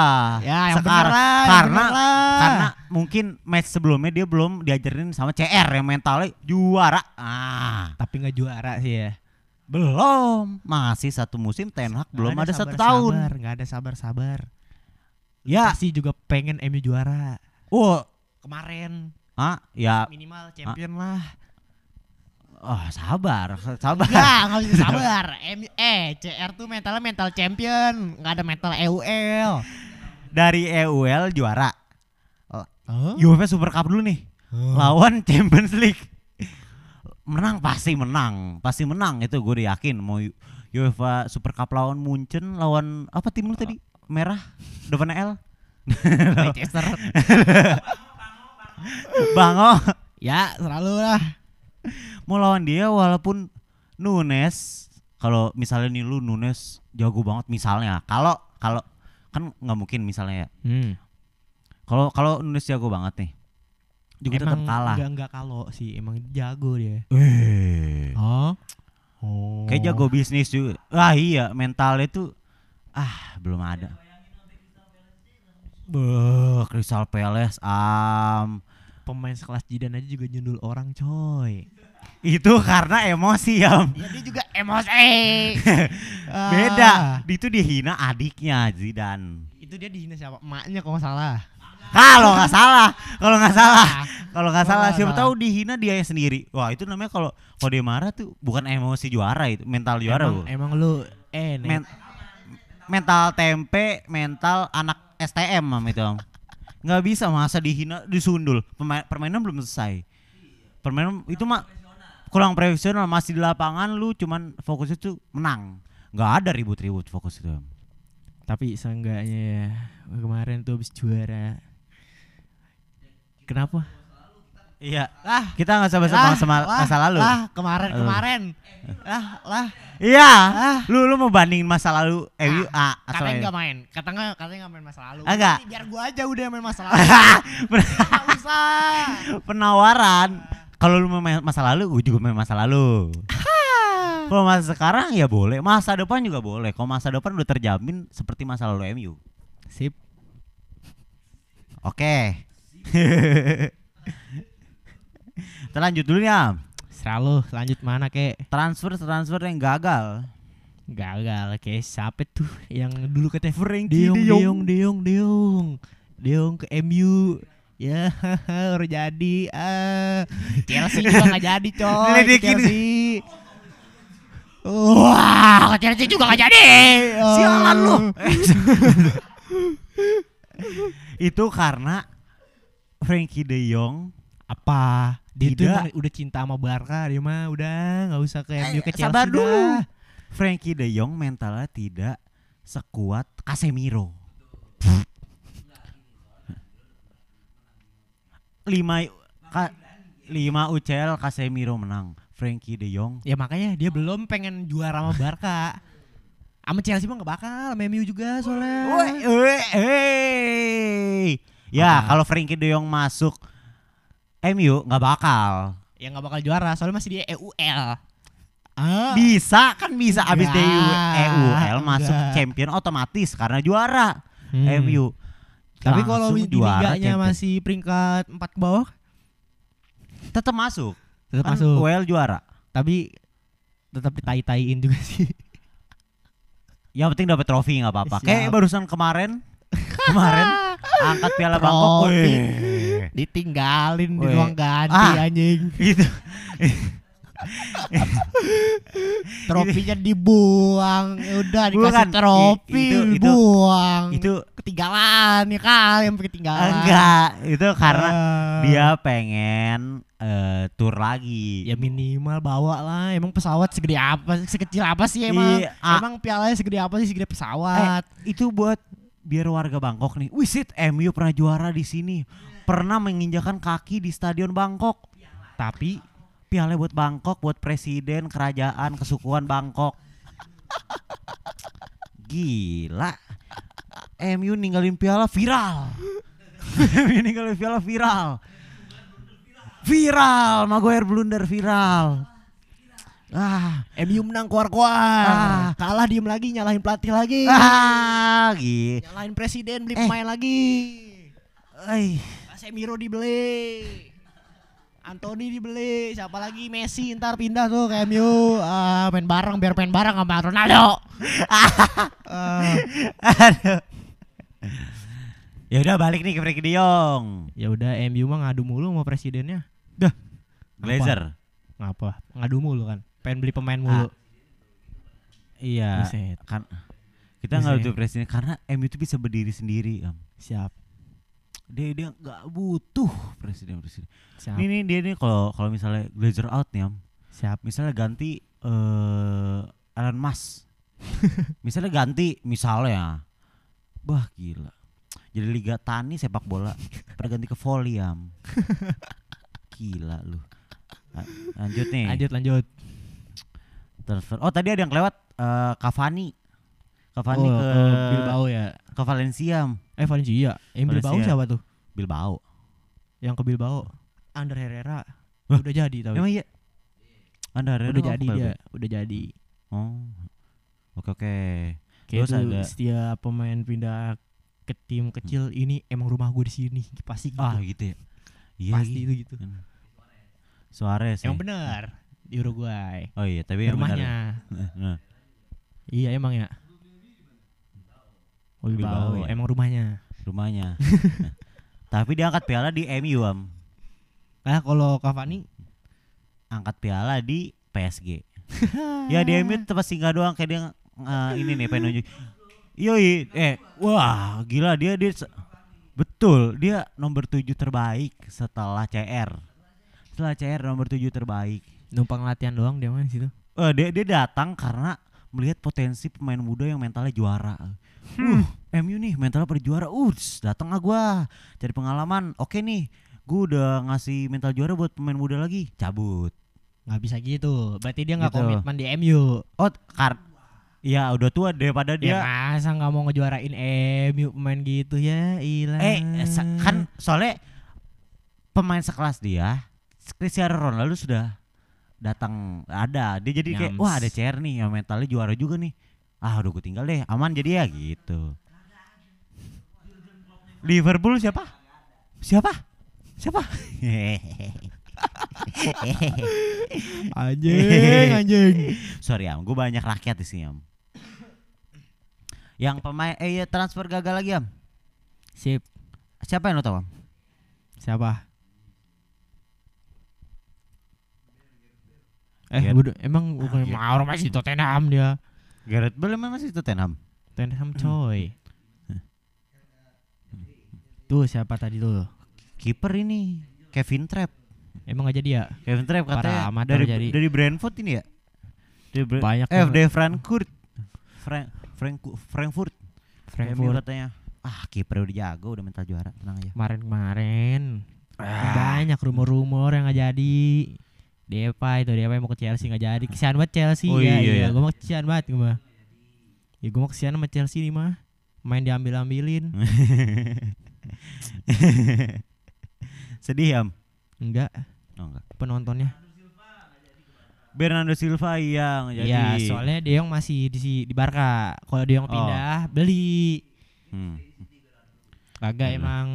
[SPEAKER 1] Ya, yang bener
[SPEAKER 2] Sekarang
[SPEAKER 1] lah, yang
[SPEAKER 2] karena
[SPEAKER 1] bener lah.
[SPEAKER 2] karena mungkin match sebelumnya dia belum diajarin sama CR yang mentalnya juara. Ah,
[SPEAKER 1] enggak. tapi enggak juara sih ya.
[SPEAKER 2] belum. Masih satu musim Ten Hag belum
[SPEAKER 1] Nggak
[SPEAKER 2] ada, satu
[SPEAKER 1] sabar-sabar,
[SPEAKER 2] tahun.
[SPEAKER 1] Enggak ada sabar-sabar.
[SPEAKER 2] Ya.
[SPEAKER 1] Pasti juga pengen MU juara.
[SPEAKER 2] Wah,
[SPEAKER 1] Kemarin
[SPEAKER 2] ah, ya
[SPEAKER 1] minimal champion lah.
[SPEAKER 2] oh, sabar, sabar.
[SPEAKER 1] Enggak, enggak bisa sabar. MU eh CR tuh mentalnya mental champion, enggak ada mental E EUL.
[SPEAKER 2] Dari EUL juara.
[SPEAKER 1] Huh?
[SPEAKER 2] UEFA Super Cup dulu nih.
[SPEAKER 1] Hmm.
[SPEAKER 2] lawan Champions League menang pasti menang pasti menang itu gue udah yakin mau U- UEFA Super Cup lawan Munchen lawan apa tim lu tadi merah depan L
[SPEAKER 1] Manchester.
[SPEAKER 2] Bango
[SPEAKER 1] Ya, selalu lah.
[SPEAKER 2] oh. mau lawan dia walaupun Nunes kalau misalnya nih lu Nunes jago banget misalnya kalau kalau kan nggak mungkin misalnya ya
[SPEAKER 1] Hmm,
[SPEAKER 2] kalau kalau Nunes jago banget nih juga tetap kalah
[SPEAKER 1] Enggak enggak kalau sih, emang jago dia.
[SPEAKER 2] eh
[SPEAKER 1] Oh. Oh.
[SPEAKER 2] kayak jago bisnis juga ah iya mentalnya tuh ah belum ada Beuh, Eh, Crystal Palace am
[SPEAKER 1] Pemain sekelas Jidan aja juga nyundul orang, coy.
[SPEAKER 2] itu karena emosi am
[SPEAKER 1] Ya dia juga emosi. Ah.
[SPEAKER 2] beda itu dihina adiknya Zidane
[SPEAKER 1] Itu dia dihina siapa? Emaknya kalau nggak salah.
[SPEAKER 2] Kalau nggak salah, kalau nggak salah,
[SPEAKER 1] Ah,
[SPEAKER 2] kalau nggak
[SPEAKER 1] Kalau
[SPEAKER 2] salah
[SPEAKER 1] nggak
[SPEAKER 2] siapa
[SPEAKER 1] salah.
[SPEAKER 2] tahu dihina dia yang sendiri. Wah itu namanya kalau kalau dia marah tuh bukan emosi juara itu, mental juara
[SPEAKER 1] emang,
[SPEAKER 2] bu.
[SPEAKER 1] emang lu eh nih.
[SPEAKER 2] Men- mental tempe, mental anak STM mam itu Om. Nggak bisa masa dihina disundul. Pemain, permainan belum selesai. Permainan itu mah kurang profesional masih di lapangan lu cuman fokusnya tuh menang. Nggak ada ribut-ribut fokus itu. Om.
[SPEAKER 1] Tapi seenggaknya ya kemarin tuh habis juara. Kenapa?
[SPEAKER 2] Iya.
[SPEAKER 1] Lah,
[SPEAKER 2] Kita nggak sama-sama sama masa lalu. Eh.
[SPEAKER 1] Lah, kemarin
[SPEAKER 2] Lalu.
[SPEAKER 1] kemarin. Lah, lah.
[SPEAKER 2] Iya. Lu lu mau bandingin masa lalu eh yuk, ah,
[SPEAKER 1] Katanya
[SPEAKER 2] sorry.
[SPEAKER 1] nggak main. Katanya katanya nggak main masa lalu.
[SPEAKER 2] Ah, nggak.
[SPEAKER 1] Nanti Biar gua aja udah yang main masa lalu. Nggak usah.
[SPEAKER 2] Penawaran. Kalau lu mau main masa lalu, gue juga main masa lalu. Kalau masa sekarang ya boleh, masa depan juga boleh. Kalau masa depan udah terjamin seperti masa lalu MU.
[SPEAKER 1] Sip.
[SPEAKER 2] Oke. Kita lanjut dulu ya.
[SPEAKER 1] Selalu lanjut mana kek?
[SPEAKER 2] Transfer transfer yang gagal.
[SPEAKER 1] Gagal kek siapa tuh yang dulu katanya
[SPEAKER 2] Frankie
[SPEAKER 1] Deong Deong
[SPEAKER 2] De Jong.
[SPEAKER 1] Deong Deong Deong ke MU ya haha, udah jadi ah Chelsea juga nggak jadi coy ke
[SPEAKER 2] Diledekin.
[SPEAKER 1] Chelsea wah ke Chelsea juga nggak jadi Oh.
[SPEAKER 2] Sialan lu. Itu karena Frankie De Jong
[SPEAKER 1] apa dia tuh
[SPEAKER 2] Tidak.
[SPEAKER 1] emang udah cinta sama Barca dia mah udah nggak usah ke MU ke
[SPEAKER 2] Eh,
[SPEAKER 1] Chelsea
[SPEAKER 2] sabar dulu.
[SPEAKER 1] dah.
[SPEAKER 2] Frankie De Jong mentalnya tidak sekuat Casemiro. lima ka- lima UCL Casemiro menang. Frankie De Jong
[SPEAKER 1] ya makanya dia belum pengen juara sama Barca sama Chelsea mah nggak bakal sama MU juga soalnya
[SPEAKER 2] Woi, woi, hei. Ya,
[SPEAKER 1] Apa?
[SPEAKER 2] kalau Frankie De Jong masuk MU nggak bakal.
[SPEAKER 1] yang Ya, nggak bakal juara soalnya masih di E EUL ah
[SPEAKER 2] Bisa kan bisa abis
[SPEAKER 1] Nggak,
[SPEAKER 2] DU EUL masuk
[SPEAKER 1] nggak.
[SPEAKER 2] champion otomatis karena juara
[SPEAKER 1] Hmm.
[SPEAKER 2] MU.
[SPEAKER 1] tapi kalau
[SPEAKER 2] Langsung
[SPEAKER 1] di liganya masih peringkat 4 ke bawah
[SPEAKER 2] tetap masuk.
[SPEAKER 1] tetap
[SPEAKER 2] Kan
[SPEAKER 1] masuk
[SPEAKER 2] UEL juara.
[SPEAKER 1] tapi tetap ditai-taiin juga sih
[SPEAKER 2] Yang penting dapat trofi nggak apa-apa.
[SPEAKER 1] Siap.
[SPEAKER 2] Kayak barusan kemarin, kemarin angkat piala Bangkok.
[SPEAKER 1] Trofi.
[SPEAKER 2] Wih.
[SPEAKER 1] ditinggalin di
[SPEAKER 2] Weh.
[SPEAKER 1] ruang ganti
[SPEAKER 2] Ah.
[SPEAKER 1] anjing
[SPEAKER 2] Gitu.
[SPEAKER 1] trofinya dibuang Ya udah dikasih
[SPEAKER 2] Bukan, i-
[SPEAKER 1] trofi
[SPEAKER 2] itu- itu-
[SPEAKER 1] dibuang
[SPEAKER 2] Itu
[SPEAKER 1] ketinggalan ya kan yang ketinggalan
[SPEAKER 2] enggak, itu karena
[SPEAKER 1] Ah.
[SPEAKER 2] dia pengen eh, tur lagi.
[SPEAKER 1] ya minimal bawa lah emang pesawat segede apa sekecil apa sih emang
[SPEAKER 2] Iya, ah.
[SPEAKER 1] emang pialanya segede apa sih segede pesawat
[SPEAKER 2] Itu buat biar warga Bangkok nih. Wisit MU pernah juara di sini. Pernah menginjakan kaki di stadion Bangkok.
[SPEAKER 1] tapi
[SPEAKER 2] Piala buat Bangkok, buat presiden, kerajaan, kesukuan Bangkok. Gila. MU ninggalin piala viral. MU ninggalin piala viral. Viral, Maguire blunder viral. Ah,
[SPEAKER 1] MU menang keluar-keluar
[SPEAKER 2] Ah.
[SPEAKER 1] kalah diem lagi nyalahin pelatih lagi
[SPEAKER 2] ah, gi.
[SPEAKER 1] nyalahin presiden beli
[SPEAKER 2] Eh.
[SPEAKER 1] pemain lagi
[SPEAKER 2] Eh,
[SPEAKER 1] Casemiro dibeli Anthony dibeli siapa lagi Messi ntar pindah tuh ke MU Ah, main bareng biar main bareng sama Ronaldo Ah.
[SPEAKER 2] aduh. Ya udah balik nih ke Frankie De Jong.
[SPEAKER 1] ya udah MU mah ngadu mulu sama presidennya
[SPEAKER 2] Glazer.
[SPEAKER 1] ngapa ngadu mulu kan pengen beli pemain mulu
[SPEAKER 2] Iya.
[SPEAKER 1] Buset.
[SPEAKER 2] Kan kita nggak
[SPEAKER 1] Buset.
[SPEAKER 2] butuh presiden karena MU itu bisa berdiri sendiri, Am.
[SPEAKER 1] siap
[SPEAKER 2] Dia dia nggak butuh presiden presiden.
[SPEAKER 1] siap
[SPEAKER 2] Ini nih dia nih kalau kalau misalnya Glazer out nih, Am.
[SPEAKER 1] siap
[SPEAKER 2] Misalnya ganti eh Elon Musk. misalnya ganti misalnya. Wah, gila. Jadi liga tani sepak bola pada ganti ke volley, Am. Gila lu. A- Lanjut nih.
[SPEAKER 1] Lanjut lanjut.
[SPEAKER 2] Transfer. Oh, tadi ada yang lewat eh, Cavani. Cavani
[SPEAKER 1] Oh,
[SPEAKER 2] ke
[SPEAKER 1] eh, Bilbao ya.
[SPEAKER 2] ke Valencia.
[SPEAKER 1] Eh Valencia. Yang Bilbao
[SPEAKER 2] Valencia.
[SPEAKER 1] siapa tuh?
[SPEAKER 2] Bilbao.
[SPEAKER 1] Yang ke Bilbao. Ander Herrera. Udah jadi tapi.
[SPEAKER 2] Emang iya. Anda Herrera
[SPEAKER 1] Udah
[SPEAKER 2] kok
[SPEAKER 1] jadi
[SPEAKER 2] ke
[SPEAKER 1] dia,
[SPEAKER 2] Bilbao?
[SPEAKER 1] udah jadi.
[SPEAKER 2] Oh. Oke oke.
[SPEAKER 1] Kayak
[SPEAKER 2] Terus
[SPEAKER 1] itu
[SPEAKER 2] ada-
[SPEAKER 1] Gitu.
[SPEAKER 2] Hmm.
[SPEAKER 1] setiap pemain pindah ke tim kecil ini emang rumah gue di sini pasti gitu.
[SPEAKER 2] Ah gitu ya. Iya.
[SPEAKER 1] pasti
[SPEAKER 2] gitu.
[SPEAKER 1] itu gitu.
[SPEAKER 2] Suarez. ya?
[SPEAKER 1] Emang bener di Uruguay.
[SPEAKER 2] Oh iya,
[SPEAKER 1] Di
[SPEAKER 2] tapi yang benar.
[SPEAKER 1] rumahnya.
[SPEAKER 2] Nah, nah.
[SPEAKER 1] Iya emang ya. Oh,
[SPEAKER 2] Bilbao,
[SPEAKER 1] Bilbao,
[SPEAKER 2] ya.
[SPEAKER 1] emang rumahnya.
[SPEAKER 2] rumahnya. Nah, Tapi dia angkat piala di MU am.
[SPEAKER 1] Nah kalau Cavani
[SPEAKER 2] Angkat piala di PSG. ya di MU tempat singgah doang kayak dia eh, ini nih pengen nunjuk. Yoi, eh wah gila dia dia se- betul dia nomor 7 terbaik setelah CR. Setelah CR nomor 7 terbaik.
[SPEAKER 1] numpang latihan doang dia mah di situ.
[SPEAKER 2] Eh, dia dia datang karena melihat potensi pemain muda yang mentalnya juara. Uh, MU nih mentalnya pada juara. Uh, tss, datang ah gua cari pengalaman. Oke nih, gua udah ngasih mental juara buat pemain muda lagi. Cabut.
[SPEAKER 1] nggak bisa gitu. Berarti dia nggak
[SPEAKER 2] Gitu.
[SPEAKER 1] komitmen di MU.
[SPEAKER 2] Oh, kar Ya udah tua daripada
[SPEAKER 1] Dia
[SPEAKER 2] dia.
[SPEAKER 1] masa nggak mau ngejuarain MU pemain gitu ya? Ilah.
[SPEAKER 2] eh, sa- kan soalnya pemain sekelas dia, Cristiano Ronaldo sudah datang ada. Dia jadi kayak
[SPEAKER 1] Yams.
[SPEAKER 2] wah ada CR nih yang mentalnya juara juga nih. Ah, udah gue tinggal deh. Aman jadi ya gitu. Liverpool siapa? Siapa? Siapa?
[SPEAKER 1] anjing, anjing.
[SPEAKER 2] Eh. Sorry Am, gue banyak rakyat di sini Am. Yang pemain eh ya, transfer gagal lagi Am.
[SPEAKER 1] Sip.
[SPEAKER 2] Siapa yang lo tahu Am?
[SPEAKER 1] Siapa? Eh,
[SPEAKER 2] Gareth.
[SPEAKER 1] bodoh. Eh, emang
[SPEAKER 2] Ah,
[SPEAKER 1] bukan mau orang masih Tottenham dia.
[SPEAKER 2] Gareth Bale emang masih Tottenham.
[SPEAKER 1] Tottenham
[SPEAKER 2] Hmm.
[SPEAKER 1] coy. Hmm. tuh siapa tadi tuh?
[SPEAKER 2] Kiper ini Kevin Trapp.
[SPEAKER 1] Emang gak jadi ya?
[SPEAKER 2] Kevin Trapp
[SPEAKER 1] Para
[SPEAKER 2] katanya
[SPEAKER 1] amatir
[SPEAKER 2] dari
[SPEAKER 1] jadi.
[SPEAKER 2] dari Brentford ini ya? Dari Bre-
[SPEAKER 1] Banyak
[SPEAKER 2] eh
[SPEAKER 1] banget.
[SPEAKER 2] dari Frankfurt. Frank Frankfurt Frankfurt. Kevin
[SPEAKER 1] Frankfurt
[SPEAKER 2] katanya. Ah, kiper udah jago, udah mental juara, tenang aja.
[SPEAKER 1] kemarin-kemarin
[SPEAKER 2] Ah.
[SPEAKER 1] banyak rumor-rumor yang gak jadi. Depay tuh Depay mau ke Chelsea gak jadi. Kesian banget Chelsea
[SPEAKER 2] Oh,
[SPEAKER 1] ya.
[SPEAKER 2] iya, iya.
[SPEAKER 1] Gue mau kesian banget gue mah. Ya gue mau kesian sama Chelsea nih mah. Main diambil-ambilin.
[SPEAKER 2] Hmm. Sedih Am.
[SPEAKER 1] Enggak
[SPEAKER 2] Oh, enggak.
[SPEAKER 1] penontonnya.
[SPEAKER 2] Bernardo Silva yang jadi.
[SPEAKER 1] Iya, soalnya Deong masih di si- di Barca. Kalau Deong
[SPEAKER 2] Oh.
[SPEAKER 1] pindah, beli.
[SPEAKER 2] Hmm.
[SPEAKER 1] Kagak
[SPEAKER 2] Bener.
[SPEAKER 1] emang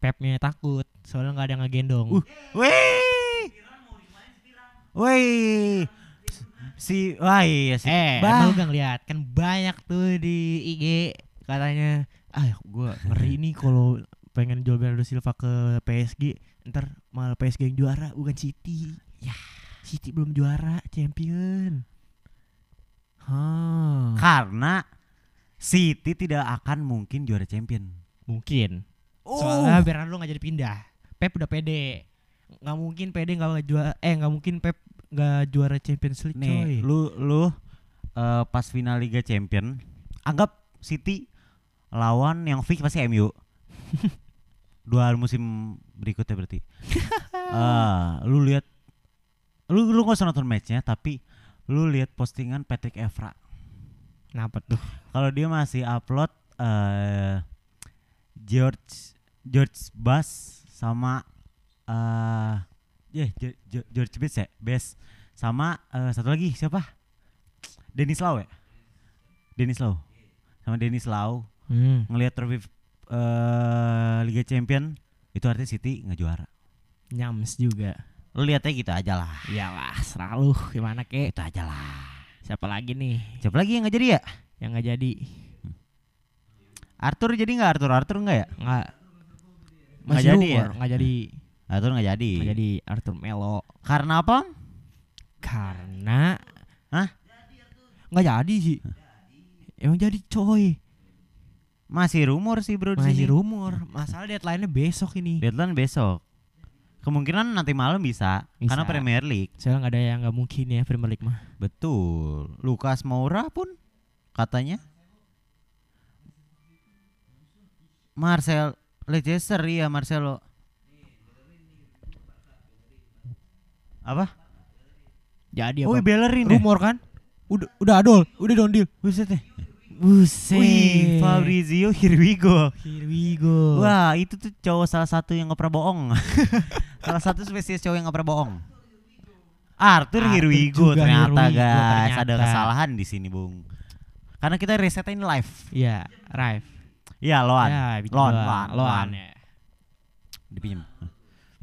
[SPEAKER 1] Pepnya takut, soalnya nggak ada yang ngegendong.
[SPEAKER 2] Uh, Wih. Wih. Si wah iya si
[SPEAKER 1] eh, emang
[SPEAKER 2] Bah.
[SPEAKER 1] lu nggak ngeliat kan banyak tuh di IG katanya, ah gua ngeri nih kalau pengen jual Bernardo Silva ke PSG, ntar malah PSG yang juara bukan City. Ya, City belum juara champion. Hah,
[SPEAKER 2] karena City tidak akan mungkin juara champion.
[SPEAKER 1] mungkin.
[SPEAKER 2] Oh.
[SPEAKER 1] Soalnya Bernardo nggak jadi pindah. Pep udah pede. Nggak mungkin pede nggak juara. Eh nggak mungkin Pep nggak juara Champions League
[SPEAKER 2] Nih,
[SPEAKER 1] coy.
[SPEAKER 2] lu lu eh, pas final Liga Champion, anggap City lawan yang fix pasti MU. Dua musim berikutnya berarti. Eh, lu lihat lu lu nggak usah nonton matchnya tapi lu lihat postingan Patrick Evra.
[SPEAKER 1] Kenapa tuh?
[SPEAKER 2] Kalau dia masih upload eh George George Bass sama eh ya Ge- Ge- George Bass ya, Bass sama eh, satu lagi siapa? Dennis Lau ya? Dennis Lau. Sama Dennis Lau
[SPEAKER 1] Hmm,
[SPEAKER 2] ngelihat trofi eh, Liga Champion itu artinya City nggak juara.
[SPEAKER 1] nyams juga.
[SPEAKER 2] Lu lihatnya gitu aja lah.
[SPEAKER 1] Iyalah, selalu gimana kek?
[SPEAKER 2] Itu aja lah.
[SPEAKER 1] Siapa lagi nih
[SPEAKER 2] Siapa lagi yang nggak jadi ya?
[SPEAKER 1] yang nggak jadi?
[SPEAKER 2] Arthur jadi nggak Arthur? Arthur nggak ya?
[SPEAKER 1] Nggak
[SPEAKER 2] Nggak
[SPEAKER 1] masih
[SPEAKER 2] jadi
[SPEAKER 1] rumor,
[SPEAKER 2] ya?
[SPEAKER 1] nggak jadi.
[SPEAKER 2] Arthur nggak jadi.
[SPEAKER 1] Nggak jadi Arthur Melo
[SPEAKER 2] Karena apa?
[SPEAKER 1] karena
[SPEAKER 2] Hah?
[SPEAKER 1] Nggak jadi sih. Emang jadi coy.
[SPEAKER 2] Masih rumor sih bro di
[SPEAKER 1] Masih
[SPEAKER 2] sini.
[SPEAKER 1] rumor. Masalah deadline-nya besok ini.
[SPEAKER 2] Deadline besok. Kemungkinan nanti malam bisa,
[SPEAKER 1] Bisa.
[SPEAKER 2] karena Premier League.
[SPEAKER 1] Soalnya nggak ada yang nggak mungkin ya Premier League mah.
[SPEAKER 2] Betul. Lukas Moura pun katanya Marcel Leicester iya Marcelo. Apa?
[SPEAKER 1] Jadi
[SPEAKER 2] oh,
[SPEAKER 1] apa?
[SPEAKER 2] Bellerin
[SPEAKER 1] Iya,
[SPEAKER 2] ya?
[SPEAKER 1] rumor kan?
[SPEAKER 3] Udah udah adol, udah don't deal.
[SPEAKER 2] Buset ya? Wih,
[SPEAKER 1] Buset.
[SPEAKER 2] Fabrizio, here we go.
[SPEAKER 1] Here we go.
[SPEAKER 2] Wah, itu tuh cowok salah satu yang gak pernah bohong. salah satu spesies cowok yang gak pernah bohong. Arthur, here we
[SPEAKER 1] Arthur
[SPEAKER 2] go
[SPEAKER 1] juga
[SPEAKER 2] ternyata
[SPEAKER 1] here we go,
[SPEAKER 2] guys. Ada
[SPEAKER 1] ternyata.
[SPEAKER 2] kesalahan di sini, Bung. Karena kita resetin live.
[SPEAKER 1] Iya, Raif.
[SPEAKER 2] Iya, Loan.
[SPEAKER 1] Ya, bikin
[SPEAKER 2] loan,
[SPEAKER 1] doang.
[SPEAKER 2] loan,
[SPEAKER 1] loan. ya.
[SPEAKER 2] Dipinjem.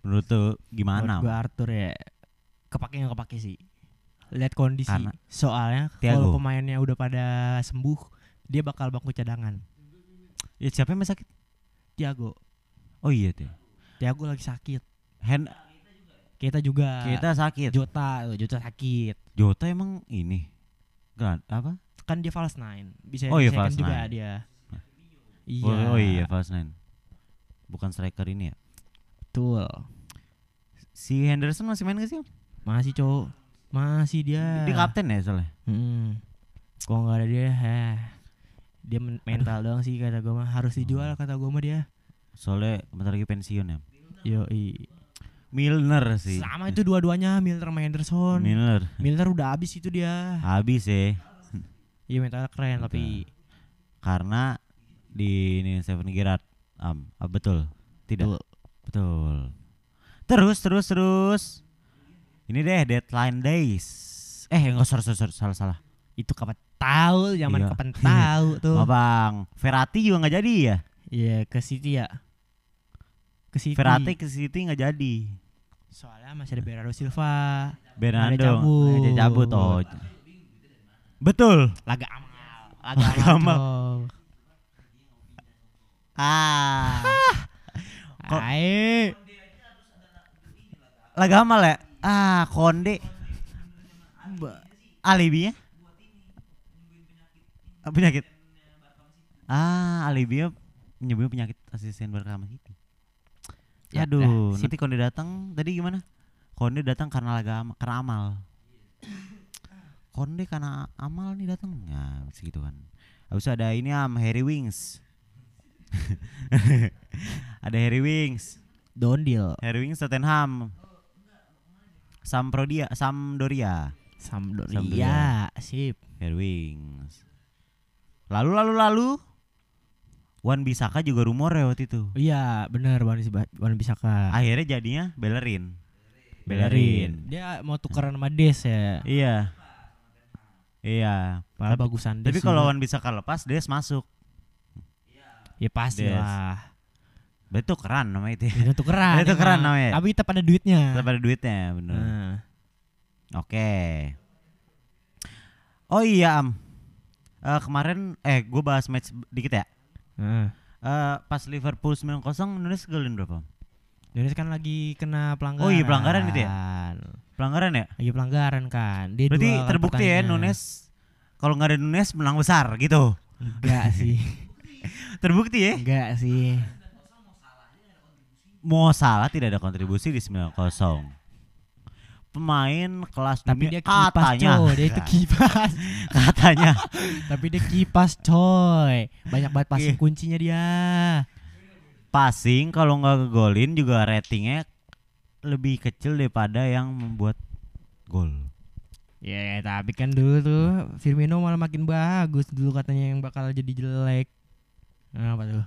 [SPEAKER 2] Menurut tuh gimana?
[SPEAKER 1] Menurut gua Arthur ya kepake nggak kepake sih. Lihat kondisi.
[SPEAKER 2] Karena-
[SPEAKER 1] Soalnya
[SPEAKER 2] Thiago.
[SPEAKER 1] kalau pemainnya udah pada sembuh, dia bakal bangku cadangan.
[SPEAKER 2] Ya siapa yang sakit?
[SPEAKER 1] Tiago,
[SPEAKER 2] Oh iya tuh.
[SPEAKER 1] Tiago lagi sakit.
[SPEAKER 2] Hand
[SPEAKER 1] Kita juga.
[SPEAKER 2] kita sakit.
[SPEAKER 1] Jota, tuh, Jota sakit.
[SPEAKER 2] Jota emang ini. Grand apa?
[SPEAKER 1] Kan dia false nine. Bisa
[SPEAKER 2] Oh iya,
[SPEAKER 1] di second
[SPEAKER 2] false
[SPEAKER 1] juga
[SPEAKER 2] nine.
[SPEAKER 1] dia. Iya.
[SPEAKER 2] Oh, oh iya, false nine. Bukan striker ini ya.
[SPEAKER 1] Betul.
[SPEAKER 2] Si Henderson masih main gak sih? Om?
[SPEAKER 1] Masih cowok. Masih dia.
[SPEAKER 2] Dia kapten ya soalnya.
[SPEAKER 1] Hmm. Kalau nggak ada dia, heh. dia men- mental doang sih kata gue mah
[SPEAKER 2] Oh.
[SPEAKER 1] harus dijual kata gue mah dia.
[SPEAKER 2] Soalnya bentar lagi pensiun ya.
[SPEAKER 1] Yo
[SPEAKER 2] Milner sih.
[SPEAKER 1] Sama itu dua-duanya Milner sama Henderson.
[SPEAKER 2] Milner.
[SPEAKER 1] Milner udah habis itu dia.
[SPEAKER 2] Habis ya.
[SPEAKER 1] Iya mentalnya keren
[SPEAKER 2] Mental.
[SPEAKER 1] tapi
[SPEAKER 2] Karena di ini Seven Gerard. Am, ah, betul. Tidak.
[SPEAKER 1] Betul.
[SPEAKER 2] Betul. Terus terus terus. Ini deh deadline days. Eh enggak sorry sorry, sorry, salah salah.
[SPEAKER 1] itu kapan tahu zaman
[SPEAKER 2] Iya.
[SPEAKER 1] kapan tahu tuh.
[SPEAKER 2] Maaf Bang, Verratti juga nggak jadi ya?
[SPEAKER 1] Iya ke City ya. Ke City.
[SPEAKER 2] Verratti ke City nggak jadi.
[SPEAKER 1] Soalnya masih ada Bernardo Silva,
[SPEAKER 2] Bernardo
[SPEAKER 1] cabut.
[SPEAKER 2] ada cabut oh. Betul.
[SPEAKER 1] laga amal,
[SPEAKER 2] Laga amal.
[SPEAKER 1] Cong.
[SPEAKER 2] Ah. Kok-
[SPEAKER 1] Ae.
[SPEAKER 2] Laga amal ya? Ah, Konde. Ba- Alibinya? Ah, Penyakit. Ah, alibinya nyebutnya penyakit asisten Barca sama City.
[SPEAKER 1] Ya,
[SPEAKER 2] Aduh,
[SPEAKER 1] dah, sip.
[SPEAKER 2] nanti Konde datang tadi gimana? Konde datang karena laga am- karena amal. Konde karena amal nih datang. Nah, segitu kan. Habis itu ada ini am Harry Wings. ada Harry Wings.
[SPEAKER 1] Dondil
[SPEAKER 2] Herwing Tottenham. Samprodia, Sampdoria.
[SPEAKER 1] Sampdoria.
[SPEAKER 2] Sampdoria.
[SPEAKER 1] sip.
[SPEAKER 2] Herwings. Lalu lalu lalu Wan Bisaka juga rumor ya waktu itu.
[SPEAKER 1] Iya, benar Wan Wan Bisaka.
[SPEAKER 2] Akhirnya jadinya Bellerin.
[SPEAKER 1] Bellerin. Dia mau tukeran sama Des ya.
[SPEAKER 2] Iya. Iya.
[SPEAKER 1] Malah
[SPEAKER 2] Tapi-
[SPEAKER 1] bagusan Des.
[SPEAKER 2] Tapi
[SPEAKER 1] sih.
[SPEAKER 2] kalau Wan Bisaka lepas, Des masuk.
[SPEAKER 1] ya pasti
[SPEAKER 2] Des.
[SPEAKER 1] lah.
[SPEAKER 2] Betul keren namanya itu.
[SPEAKER 1] Itu tukeran.
[SPEAKER 2] Itu tukeran
[SPEAKER 1] emang.
[SPEAKER 2] namanya.
[SPEAKER 1] Tapi tetap ada duitnya.
[SPEAKER 2] Tetap ada duitnya, bener.
[SPEAKER 1] Nah,
[SPEAKER 2] Oke. Oh iya, Am. Eh, kemarin eh gue bahas match dikit ya.
[SPEAKER 1] nah.
[SPEAKER 2] Eh, pas Liverpool 9-0 Nunes golin berapa?
[SPEAKER 1] Indonesia kan lagi kena pelanggaran.
[SPEAKER 2] Oh iya, pelanggaran gitu ya? Pelanggaran ya?
[SPEAKER 1] Lagi pelanggaran kan. Dia
[SPEAKER 2] Berarti
[SPEAKER 1] dua kali
[SPEAKER 2] terbukti ya
[SPEAKER 1] pertandingan.
[SPEAKER 2] Nunes kalau nggak ada Nunes menang besar gitu.
[SPEAKER 1] Enggak sih.
[SPEAKER 2] Terbukti ya.
[SPEAKER 1] Enggak sih.
[SPEAKER 2] Mo Salah tidak ada kontribusi di 9-0. Pemain kelas
[SPEAKER 1] Tapi dia
[SPEAKER 2] dunia
[SPEAKER 1] kipas
[SPEAKER 2] katanya.
[SPEAKER 1] coy, dia itu kipas.
[SPEAKER 2] katanya.
[SPEAKER 1] Tapi dia kipas coy. Banyak banget passing
[SPEAKER 2] Iya.
[SPEAKER 1] kuncinya dia.
[SPEAKER 2] Passing kalau nggak golin juga ratingnya lebih kecil daripada yang membuat gol.
[SPEAKER 1] Ya tapi kan dulu tuh Firmino malah makin bagus dulu katanya yang bakal jadi jelek. Nah, apa tuh?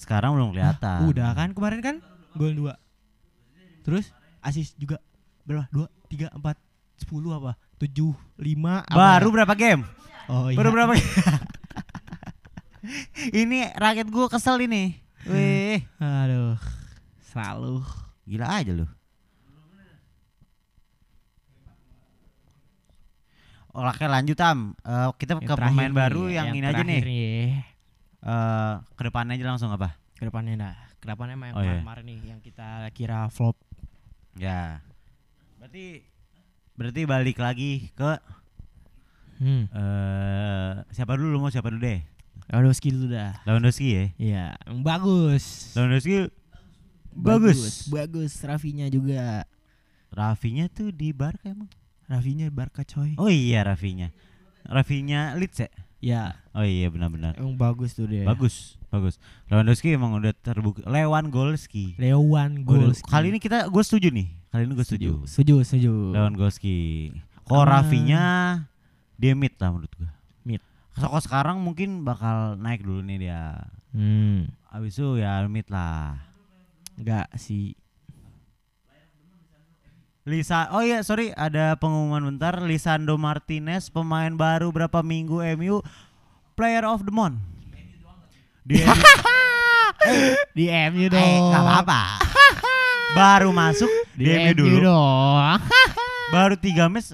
[SPEAKER 2] Sekarang belum kelihatan.
[SPEAKER 1] Udah kan kemarin kan gol 2. Terus asis juga berapa? 2 3 4 10 apa? 7 5
[SPEAKER 2] Baru berapa game?
[SPEAKER 1] Oh iya.
[SPEAKER 2] Baru berapa? ini rakyat gua kesel ini. Wih,
[SPEAKER 1] Aduh. Selalu
[SPEAKER 2] gila aja lu. Oke lanjut Am. Eh, kita ke pemain baru yang, ini aja nih. Eh, ke depannya aja langsung apa?
[SPEAKER 1] Kedepannya dah. Kedepannya emang yang
[SPEAKER 2] Oh, iya.
[SPEAKER 1] kemarin nih yang kita kira flop.
[SPEAKER 2] Ya. Berarti berarti balik lagi ke
[SPEAKER 1] Hmm.
[SPEAKER 2] eh siapa dulu lu mau siapa dulu deh?
[SPEAKER 1] Lewandowski dulu dah.
[SPEAKER 2] Lewandowski ya.
[SPEAKER 1] Iya, yang bagus.
[SPEAKER 2] Lewandowski bagus.
[SPEAKER 1] Bagus, Rafinya juga.
[SPEAKER 2] Rafinya tuh di Barca emang.
[SPEAKER 1] Rafinya Barca coy.
[SPEAKER 2] Oh iya Rafinya. Rafinya Leeds ya? Iya.
[SPEAKER 1] Ya,
[SPEAKER 2] Oh iya benar-benar.
[SPEAKER 1] emang bagus tuh dia.
[SPEAKER 2] Bagus, bagus. Lewandowski emang udah terbukti. Lewandowski.
[SPEAKER 1] Lewan
[SPEAKER 2] Gua udah-
[SPEAKER 1] Gols.
[SPEAKER 2] Kali ini kita gue setuju nih. Kali ini gue setuju.
[SPEAKER 1] Setuju, setuju.
[SPEAKER 2] Lawan Goski. Kalau
[SPEAKER 1] Ah.
[SPEAKER 2] Rafinya dia mid lah menurut gue.
[SPEAKER 1] Mid.
[SPEAKER 2] Kalau sekarang mungkin bakal naik dulu nih dia.
[SPEAKER 1] Hmm,
[SPEAKER 2] Abis itu ya mid lah.
[SPEAKER 1] enggak sih.
[SPEAKER 2] Lisa, oh iya sorry ada pengumuman bentar. Lisandro Martinez pemain baru berapa minggu MU Player of the Month. Dia
[SPEAKER 3] Di MU dong.
[SPEAKER 2] Eh, nggak apa-apa. baru masuk
[SPEAKER 3] Di
[SPEAKER 2] di MU dulu.
[SPEAKER 3] dong.
[SPEAKER 2] baru tiga match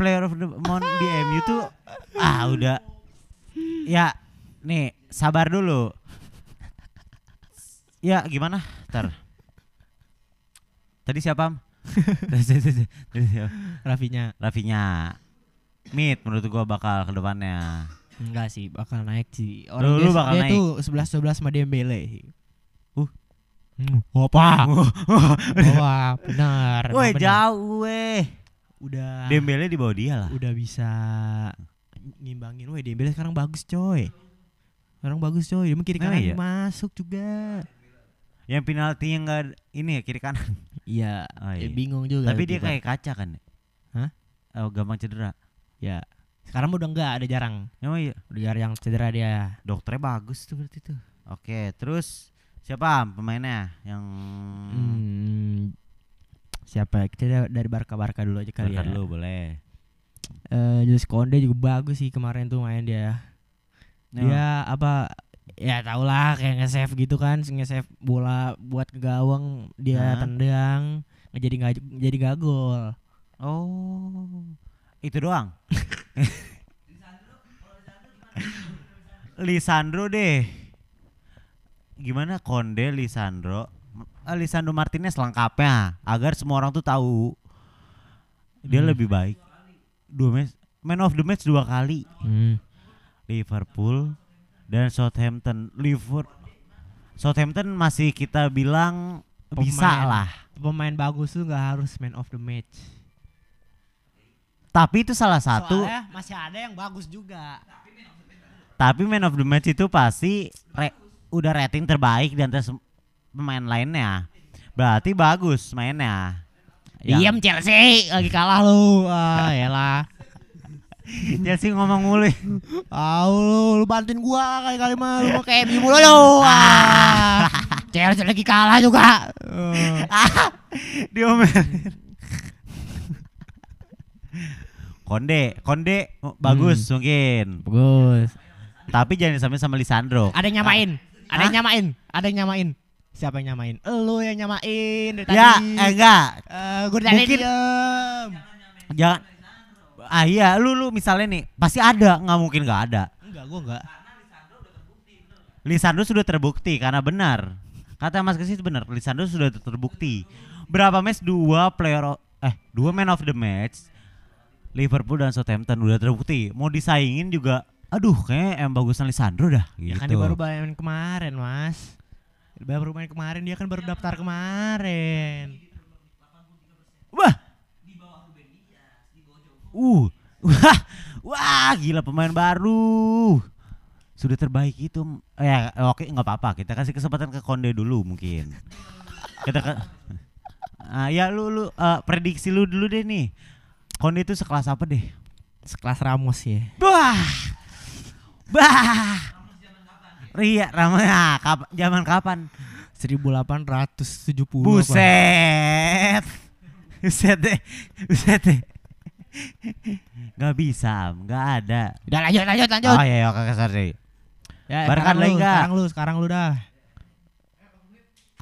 [SPEAKER 2] player of the month di MU tuh ah udah ya nih sabar dulu ya gimana ter tadi siapa Am? Tadi- tadi- tadi- tadi siapa?
[SPEAKER 1] Rafinya
[SPEAKER 2] Rafinya Mid menurut gua bakal kedepannya
[SPEAKER 1] enggak sih bakal naik sih.
[SPEAKER 2] Lu- lu bakal
[SPEAKER 1] dia
[SPEAKER 2] naik.
[SPEAKER 1] tuh 11 11 sama Dembele.
[SPEAKER 2] Uh.
[SPEAKER 1] Hmm, apa? Wah, benar.
[SPEAKER 2] Weh
[SPEAKER 1] emang benar.
[SPEAKER 2] jauh weh
[SPEAKER 1] Udah
[SPEAKER 2] Ah. Dembele di bawah dia lah
[SPEAKER 1] udah bisa ngimbangin. Woi, Dembele sekarang bagus, coy. Sekarang bagus, coy. Dia kiri
[SPEAKER 2] Nah,
[SPEAKER 1] kanan
[SPEAKER 2] iya.
[SPEAKER 1] masuk juga.
[SPEAKER 2] yang penalti yang enggak ini ya kiri kanan
[SPEAKER 1] Iya,
[SPEAKER 2] Oh,
[SPEAKER 1] eh,
[SPEAKER 2] iya.
[SPEAKER 1] bingung juga.
[SPEAKER 2] tapi dia
[SPEAKER 1] kiper.
[SPEAKER 2] kayak kaca kan
[SPEAKER 1] Hah?
[SPEAKER 2] oh, gampang cedera
[SPEAKER 1] ya. Sekarang udah enggak ada jarang.
[SPEAKER 2] emang iya
[SPEAKER 1] Udah jarang cedera dia.
[SPEAKER 2] dokternya bagus tuh berarti tuh. Oke, terus siapa pemainnya yang
[SPEAKER 1] Hmm. Siapa? Kita dari Barca-Barca dulu aja kali ya.
[SPEAKER 2] Bentar dulu boleh.
[SPEAKER 1] Eh, Julius Konde juga bagus sih kemarin tuh main dia.
[SPEAKER 3] Ya.
[SPEAKER 1] Dia apa ya tau lah kayak nge-save gitu kan, nge-save bola buat ke gawang, dia
[SPEAKER 3] Nah.
[SPEAKER 2] Hah?
[SPEAKER 1] tendang, nggak jadi nggak jadi nggak gol.
[SPEAKER 2] Oh, itu doang. Lisandro deh. Gimana Konde Lisandro? Eh, Lisandro Martinez lengkapnya agar semua orang tuh tahu dia
[SPEAKER 1] Hmm.
[SPEAKER 2] lebih baik. Dua match, man of the match dua kali.
[SPEAKER 3] Hmm.
[SPEAKER 2] Liverpool dan Southampton. Liverpool Southampton masih kita bilang bisa
[SPEAKER 1] Pemain.
[SPEAKER 2] lah.
[SPEAKER 1] Pemain bagus tuh nggak harus man of the match.
[SPEAKER 2] Tapi itu salah satu.
[SPEAKER 3] Soalnya masih ada yang bagus juga.
[SPEAKER 2] Tapi man of the match itu pasti re- udah rating terbaik di antara sem- pemain lainnya. Berarti bagus mainnya.
[SPEAKER 3] Diam Chelsea lagi kalah lu. Ah,
[SPEAKER 1] ya
[SPEAKER 3] yalah.
[SPEAKER 2] Chelsea ngomong mulu.
[SPEAKER 3] Au lu, lu bantuin gua kali-kali mah lu mau kayak MU mulu lu. Ah. Chelsea lagi kalah juga. Eh,
[SPEAKER 2] Diomelin. Konde, Konde oh, bagus mungkin.
[SPEAKER 1] Bagus.
[SPEAKER 2] Tapi jangan disamain sama Lisandro.
[SPEAKER 3] ada yang nyamain.
[SPEAKER 1] Ah.
[SPEAKER 3] Ada yang nyamain. Ada yang nyamain. Siapa yang nyamain? Lu yang nyamain dari tadi.
[SPEAKER 2] Ya, eh, enggak.
[SPEAKER 3] Eh, gua dari tadi
[SPEAKER 2] Mungkin-
[SPEAKER 3] diem.
[SPEAKER 2] Jangan. Ah iya, lu lu misalnya nih, pasti ada, nggak mungkin nggak ada.
[SPEAKER 3] Enggak, gua enggak.
[SPEAKER 2] Lisandro sudah terbukti karena benar. Kata Mas Kesit benar, Lisandro sudah terbukti. Berapa match dua player o- eh dua man of the match Liverpool dan Southampton udah terbukti. Mau disaingin juga aduh kayaknya yang bagusan Lisandro dah gitu.
[SPEAKER 1] Ya kan dia baru main kemarin, Mas. Baru main kemarin dia kan baru daftar kemarin.
[SPEAKER 2] Wah. Uh. Wah. Wah, gila pemain baru. Sudah terbaik itu. Eh, ya, oke nggak apa-apa. Kita kasih kesempatan ke Konde dulu mungkin. Kita ke Ah, ya lu lu eh, prediksi lu dulu deh nih. Konde itu sekelas apa deh?
[SPEAKER 1] Sekelas Ramos ya.
[SPEAKER 2] Bah. Bah. Ria Rama ah, kap- zaman kapan?
[SPEAKER 1] 1870 apa?
[SPEAKER 2] Buset. Buset deh. Buset deh. Gak bisa, Am. gak ada.
[SPEAKER 3] Udah lanjut, lanjut, lanjut.
[SPEAKER 2] Oh
[SPEAKER 1] Ah,
[SPEAKER 2] iya, iya, kakak sorry.
[SPEAKER 1] Ya,
[SPEAKER 2] Barca
[SPEAKER 1] sekarang
[SPEAKER 2] lagi
[SPEAKER 1] lu,
[SPEAKER 2] nggak?
[SPEAKER 1] sekarang lu, sekarang lu dah.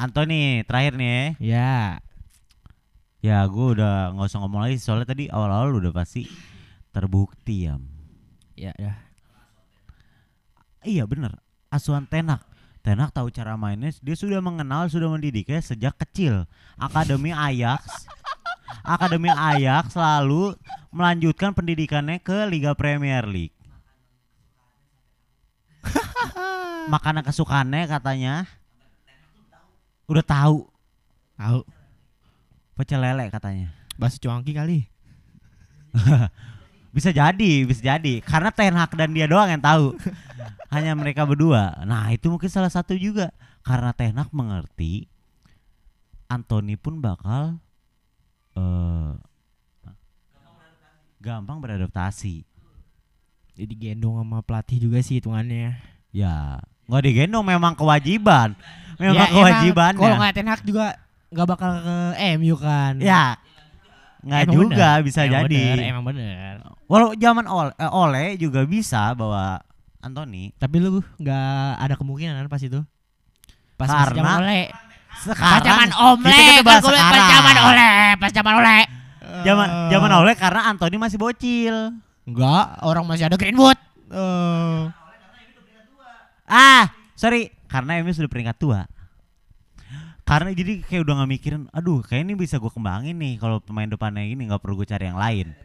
[SPEAKER 2] Anthony, terakhir nih
[SPEAKER 1] Ya.
[SPEAKER 2] ya. Ya gue udah gak usah ngomong lagi soalnya tadi awal-awal udah pasti terbukti ya.
[SPEAKER 1] Ya, ya.
[SPEAKER 2] Iya bener, asuhan Tenak. Tenak tahu cara mainnya, dia sudah mengenal, sudah mendidiknya sejak kecil. Akademi Ajax, Akademi Ajax selalu melanjutkan pendidikannya ke Liga Premier League. Makanan kesukaannya katanya udah tahu
[SPEAKER 1] Tahu.
[SPEAKER 2] pecel lele katanya.
[SPEAKER 1] Basu cuangki kali.
[SPEAKER 2] Bisa jadi, bisa jadi. Karena Ten Hag dan dia doang yang tahu. Hanya mereka berdua. Nah, itu mungkin salah satu juga. Karena Ten Hag mengerti Anthony pun bakal eh, gampang beradaptasi.
[SPEAKER 1] Jadi digendong sama pelatih juga sih hitungannya.
[SPEAKER 2] Ya, nggak digendong memang kewajiban.
[SPEAKER 3] Ya,
[SPEAKER 2] Memang
[SPEAKER 3] emang
[SPEAKER 2] kewajibannya.
[SPEAKER 3] Kalau nggak Ten Hag juga nggak bakal ke MU kan.
[SPEAKER 2] Ya, nggak
[SPEAKER 1] Emang
[SPEAKER 2] juga
[SPEAKER 1] bener.
[SPEAKER 2] bisa
[SPEAKER 1] Emang
[SPEAKER 2] jadi.
[SPEAKER 1] bener, emang bener.
[SPEAKER 2] Walau zaman Ole, eh, Ole juga bisa bawa Anthony.
[SPEAKER 1] Tapi lu nggak ada kemungkinan kan pas itu. Pas
[SPEAKER 2] Karena-
[SPEAKER 1] masih zaman Ole.
[SPEAKER 3] Pas zaman
[SPEAKER 2] Sekarang
[SPEAKER 3] Omle,
[SPEAKER 2] kita
[SPEAKER 3] kan
[SPEAKER 2] coba
[SPEAKER 3] gua bilang pas
[SPEAKER 2] sekarang.
[SPEAKER 3] zaman Ole, pas zaman Eh, Ole.
[SPEAKER 2] zaman
[SPEAKER 1] Ah.
[SPEAKER 2] zaman Ole karena Anthony masih bocil.
[SPEAKER 3] Enggak, orang masih ada Greenwood. Eh,
[SPEAKER 2] Ah, sorry, karena Emi sudah peringkat tua. Karena jadi kayak udah nggak mikirin, aduh, kayak ini bisa gue kembangin nih kalau pemain depannya ini nggak perlu gue cari yang lain.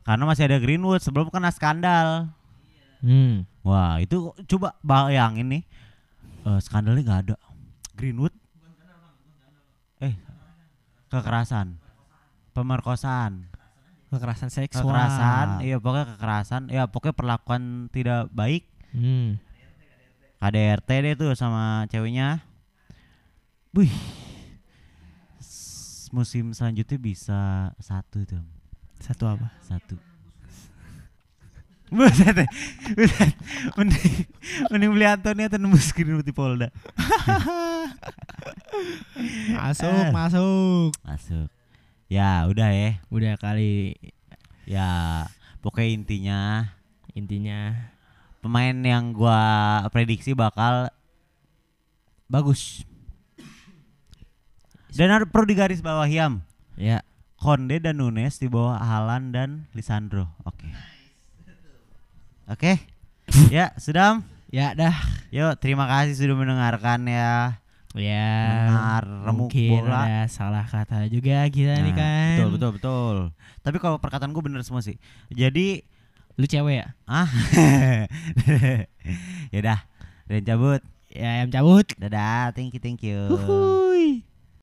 [SPEAKER 2] Karena masih ada Greenwood sebelum kena skandal.
[SPEAKER 1] Hmm.
[SPEAKER 2] Wah itu coba bayangin nih Eh, skandalnya nggak ada Greenwood eh kekerasan pemerkosaan
[SPEAKER 1] Kekerasan seksual.
[SPEAKER 2] kekerasan iya pokoknya kekerasan ya pokoknya perlakuan tidak baik
[SPEAKER 1] Hmm.
[SPEAKER 2] KDRT deh tuh sama ceweknya Wih S- musim selanjutnya bisa satu tuh
[SPEAKER 1] Satu apa?
[SPEAKER 2] satu Buset deh. Buset. Mending, mending beli Antonia atau nembus Greenwood di Polda.
[SPEAKER 3] masuk,
[SPEAKER 2] Eh.
[SPEAKER 3] masuk.
[SPEAKER 2] Masuk. Ya udah ya.
[SPEAKER 1] Udah kali
[SPEAKER 2] Ya pokoknya intinya
[SPEAKER 1] intinya.
[SPEAKER 2] pemain yang gua prediksi bakal bagus. Dan harus perlu digaris bawah Hiam.
[SPEAKER 1] Ya.
[SPEAKER 2] Konde dan Nunes di bawah Halan dan Lisandro. Oke. Oke. Ya, sudah.
[SPEAKER 1] Ya dah.
[SPEAKER 2] Yuk, terima kasih sudah mendengarkan ya.
[SPEAKER 1] Ya.
[SPEAKER 2] Benar, remuk
[SPEAKER 1] mungkin
[SPEAKER 2] bola.
[SPEAKER 1] ada salah kata juga kita nih
[SPEAKER 2] Nah,
[SPEAKER 1] kan.
[SPEAKER 2] Betul, betul, betul. Tapi kalau perkataan gue bener semua sih. Jadi,
[SPEAKER 1] Lu cewek ya?
[SPEAKER 2] ah. Yaudah, dan cabut.
[SPEAKER 1] Ya, yang cabut. Uhuh.
[SPEAKER 2] Dadah, thank you, thank you.
[SPEAKER 1] Uhuy.